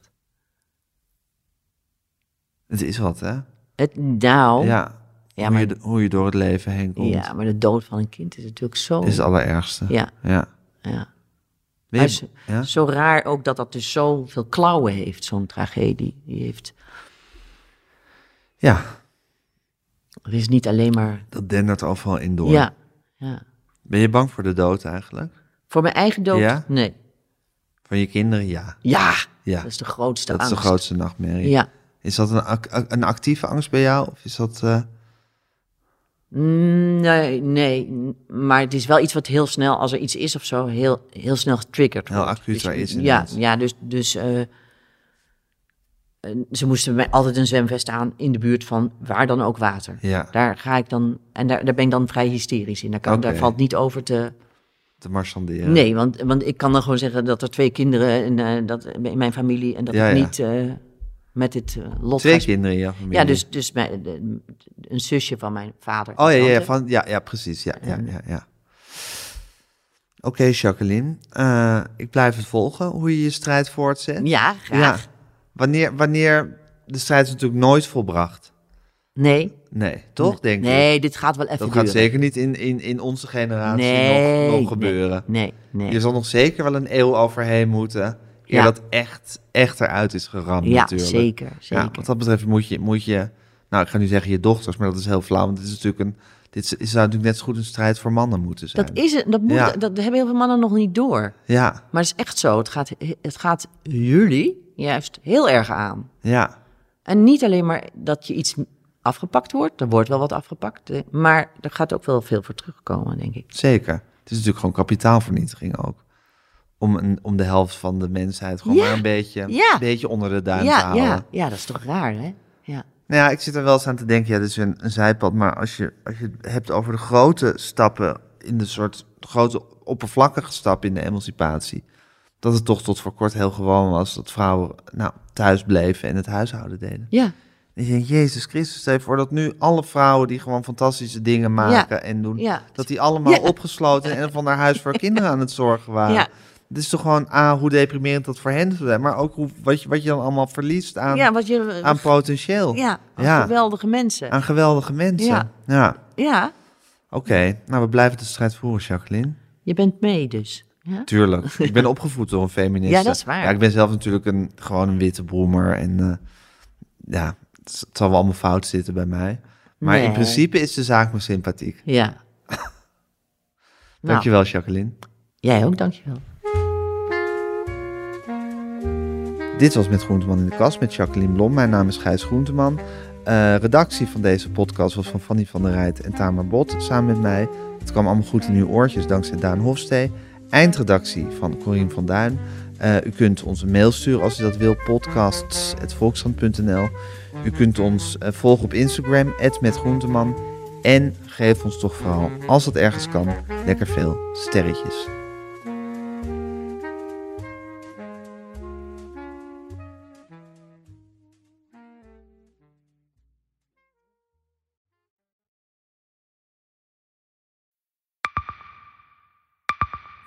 [SPEAKER 2] Het is wat, hè?
[SPEAKER 3] Het, nou, ja,
[SPEAKER 2] Ja.
[SPEAKER 3] Ja,
[SPEAKER 2] hoe,
[SPEAKER 3] maar-
[SPEAKER 2] je, d- hoe je door het leven heen komt,
[SPEAKER 3] maar de dood van een kind is natuurlijk zo...
[SPEAKER 2] is het allerergste.
[SPEAKER 3] Ja,
[SPEAKER 2] Ja.
[SPEAKER 3] ja.
[SPEAKER 2] Ben je-
[SPEAKER 3] Als-
[SPEAKER 2] ja?
[SPEAKER 3] Zo raar ook dat dat dus zoveel klauwen heeft, zo'n tragedie. Die heeft,
[SPEAKER 2] ja,
[SPEAKER 3] het is niet alleen maar...
[SPEAKER 2] dat dendert overal in door.
[SPEAKER 3] Ja, ja.
[SPEAKER 2] Ben je bang voor de dood eigenlijk?
[SPEAKER 3] Voor mijn eigen dood?
[SPEAKER 2] Ja?
[SPEAKER 3] Nee.
[SPEAKER 2] Van je kinderen, ja.
[SPEAKER 3] Ja,
[SPEAKER 2] Ja,
[SPEAKER 3] dat is de grootste
[SPEAKER 2] dat is
[SPEAKER 3] angst.
[SPEAKER 2] de grootste nachtmerrie.
[SPEAKER 3] Ja.
[SPEAKER 2] Is dat een, ac- ac- een actieve angst bij jou? Of is dat... eh,
[SPEAKER 3] Mm, Nee, nee. n- Maar het is wel iets wat heel snel, als er iets is of zo, heel, heel snel getriggerd
[SPEAKER 2] Heel
[SPEAKER 3] wordt.
[SPEAKER 2] acuut
[SPEAKER 3] Dus-
[SPEAKER 2] waar is
[SPEAKER 3] Ja,
[SPEAKER 2] inderdaad.
[SPEAKER 3] ja dus, dus eh, eh, ze moesten bij mij altijd een zwemvest aan in de buurt van waar dan ook water.
[SPEAKER 2] Ja,
[SPEAKER 3] Daar ga ik dan, en daar, daar ben ik dan vrij hysterisch in. Daar, kan, daar
[SPEAKER 2] Oké.
[SPEAKER 3] valt niet over te...
[SPEAKER 2] te marchanderen.
[SPEAKER 3] Nee, want, want ik kan dan gewoon zeggen dat er twee kinderen en, eh, dat, in mijn familie en dat
[SPEAKER 2] Ja,
[SPEAKER 3] ik
[SPEAKER 2] ja.
[SPEAKER 3] niet eh, met dit eh, lot
[SPEAKER 2] Twee
[SPEAKER 3] ga sp-
[SPEAKER 2] kinderen in jouw familie.
[SPEAKER 3] Ja, dus, dus mijn, de- een zusje van mijn vader.
[SPEAKER 2] Oh ja, ja, ja,
[SPEAKER 3] tante.
[SPEAKER 2] van, ja, ja precies. Ja, ja, ja, ja. Oké, Jacqueline. eh, ik blijf het volgen, hoe je je strijd voortzet.
[SPEAKER 3] Ja, graag.
[SPEAKER 2] Wanneer, wanneer... De strijd is natuurlijk nooit volbracht.
[SPEAKER 3] Nee.
[SPEAKER 2] Nee, toch? Denk ik.
[SPEAKER 3] Nee, dit gaat wel even
[SPEAKER 2] Dat gaat
[SPEAKER 3] duren.
[SPEAKER 2] zeker niet in, in, in onze generatie
[SPEAKER 3] nee,
[SPEAKER 2] nog,
[SPEAKER 3] nee,
[SPEAKER 2] nog gebeuren.
[SPEAKER 3] Nee, nee.
[SPEAKER 2] Je zal nog zeker wel een eeuw overheen moeten. Eer
[SPEAKER 3] Ja.
[SPEAKER 2] dat echt, echt eruit is geramd
[SPEAKER 3] ja,
[SPEAKER 2] natuurlijk.
[SPEAKER 3] zeker, zeker.
[SPEAKER 2] Ja, wat dat betreft moet je, moet je... Nou, ik ga nu zeggen je dochters, maar dat is heel flauw. Want dit is natuurlijk een... Dit is, zou natuurlijk net zo goed een strijd voor mannen moeten zijn.
[SPEAKER 3] dat is het. Dat, moet,
[SPEAKER 2] Ja.
[SPEAKER 3] dat hebben heel veel mannen nog niet door.
[SPEAKER 2] Ja,
[SPEAKER 3] Maar het is echt zo. Het gaat, het gaat jullie juist heel erg aan.
[SPEAKER 2] Ja.
[SPEAKER 3] En niet alleen maar dat je iets afgepakt wordt, er wordt wel wat afgepakt, eh, maar er gaat ook wel veel voor terugkomen, denk ik.
[SPEAKER 2] Zeker. Het is natuurlijk gewoon kapitaalvernietiging ook. Om, een, om de helft van de mensheid gewoon
[SPEAKER 3] Ja,
[SPEAKER 2] maar een beetje,
[SPEAKER 3] ja.
[SPEAKER 2] een beetje onder de duim te
[SPEAKER 3] Ja,
[SPEAKER 2] halen.
[SPEAKER 3] ja, ja, dat is toch raar, hè? Ja,
[SPEAKER 2] Nou ja, ik zit er wel eens aan te denken, ja, dit is weer een, een zijpad. Maar als je, als je het hebt over de grote stappen in de soort grote oppervlakkige stap in de emancipatie. Dat het toch tot voor kort heel gewoon was dat vrouwen nou, thuis bleven en het huishouden deden.
[SPEAKER 3] ja,
[SPEAKER 2] En je denkt, Jezus Christus, stel je voor dat nu alle vrouwen die gewoon fantastische dingen maken en doen,
[SPEAKER 3] ja.
[SPEAKER 2] dat die allemaal
[SPEAKER 3] Ja.
[SPEAKER 2] opgesloten en van haar huis voor kinderen aan het zorgen waren.
[SPEAKER 3] Ja.
[SPEAKER 2] Het is toch gewoon, A, hoe deprimerend dat voor hen zou zijn, maar ook hoe, wat, je, wat je dan allemaal verliest aan,
[SPEAKER 3] ja, wat je,
[SPEAKER 2] aan potentieel.
[SPEAKER 3] ja, aan
[SPEAKER 2] Ja.
[SPEAKER 3] geweldige mensen.
[SPEAKER 2] Aan geweldige mensen. Ja.
[SPEAKER 3] Ja. Ja,
[SPEAKER 2] Oké, nou we blijven de strijd voeren, Jacqueline.
[SPEAKER 3] je bent mee dus. Ja,
[SPEAKER 2] Tuurlijk. Ik ben opgevoed door een feministe.
[SPEAKER 3] Ja, dat is waar.
[SPEAKER 2] Ja, ik ben zelf natuurlijk een, gewoon een witte broemer. En eh, ja, het z- het zal wel allemaal fout zitten bij mij. Maar in
[SPEAKER 3] Nee.
[SPEAKER 2] principe is de zaak me sympathiek.
[SPEAKER 3] ja. Nou,
[SPEAKER 2] Dankjewel, Jacqueline.
[SPEAKER 3] Jij ook, dankjewel.
[SPEAKER 2] Dit was Met Groenteman in de Kast met Jacqueline Blom. Mijn naam is Gijs Groenteman. Eh, redactie van deze podcast was van Fanny van der Rijt en Tamer Bot samen met mij. Het kwam allemaal goed in uw oortjes dankzij Daan Hofstee. Eindredactie van Corien van Duin. Eh, u kunt ons een mail sturen als u dat wil, podcasts.volkskrant.nl. U kunt ons eh, volgen op Instagram, metgroenteman. En geef ons toch vooral, als dat ergens kan, lekker veel sterretjes.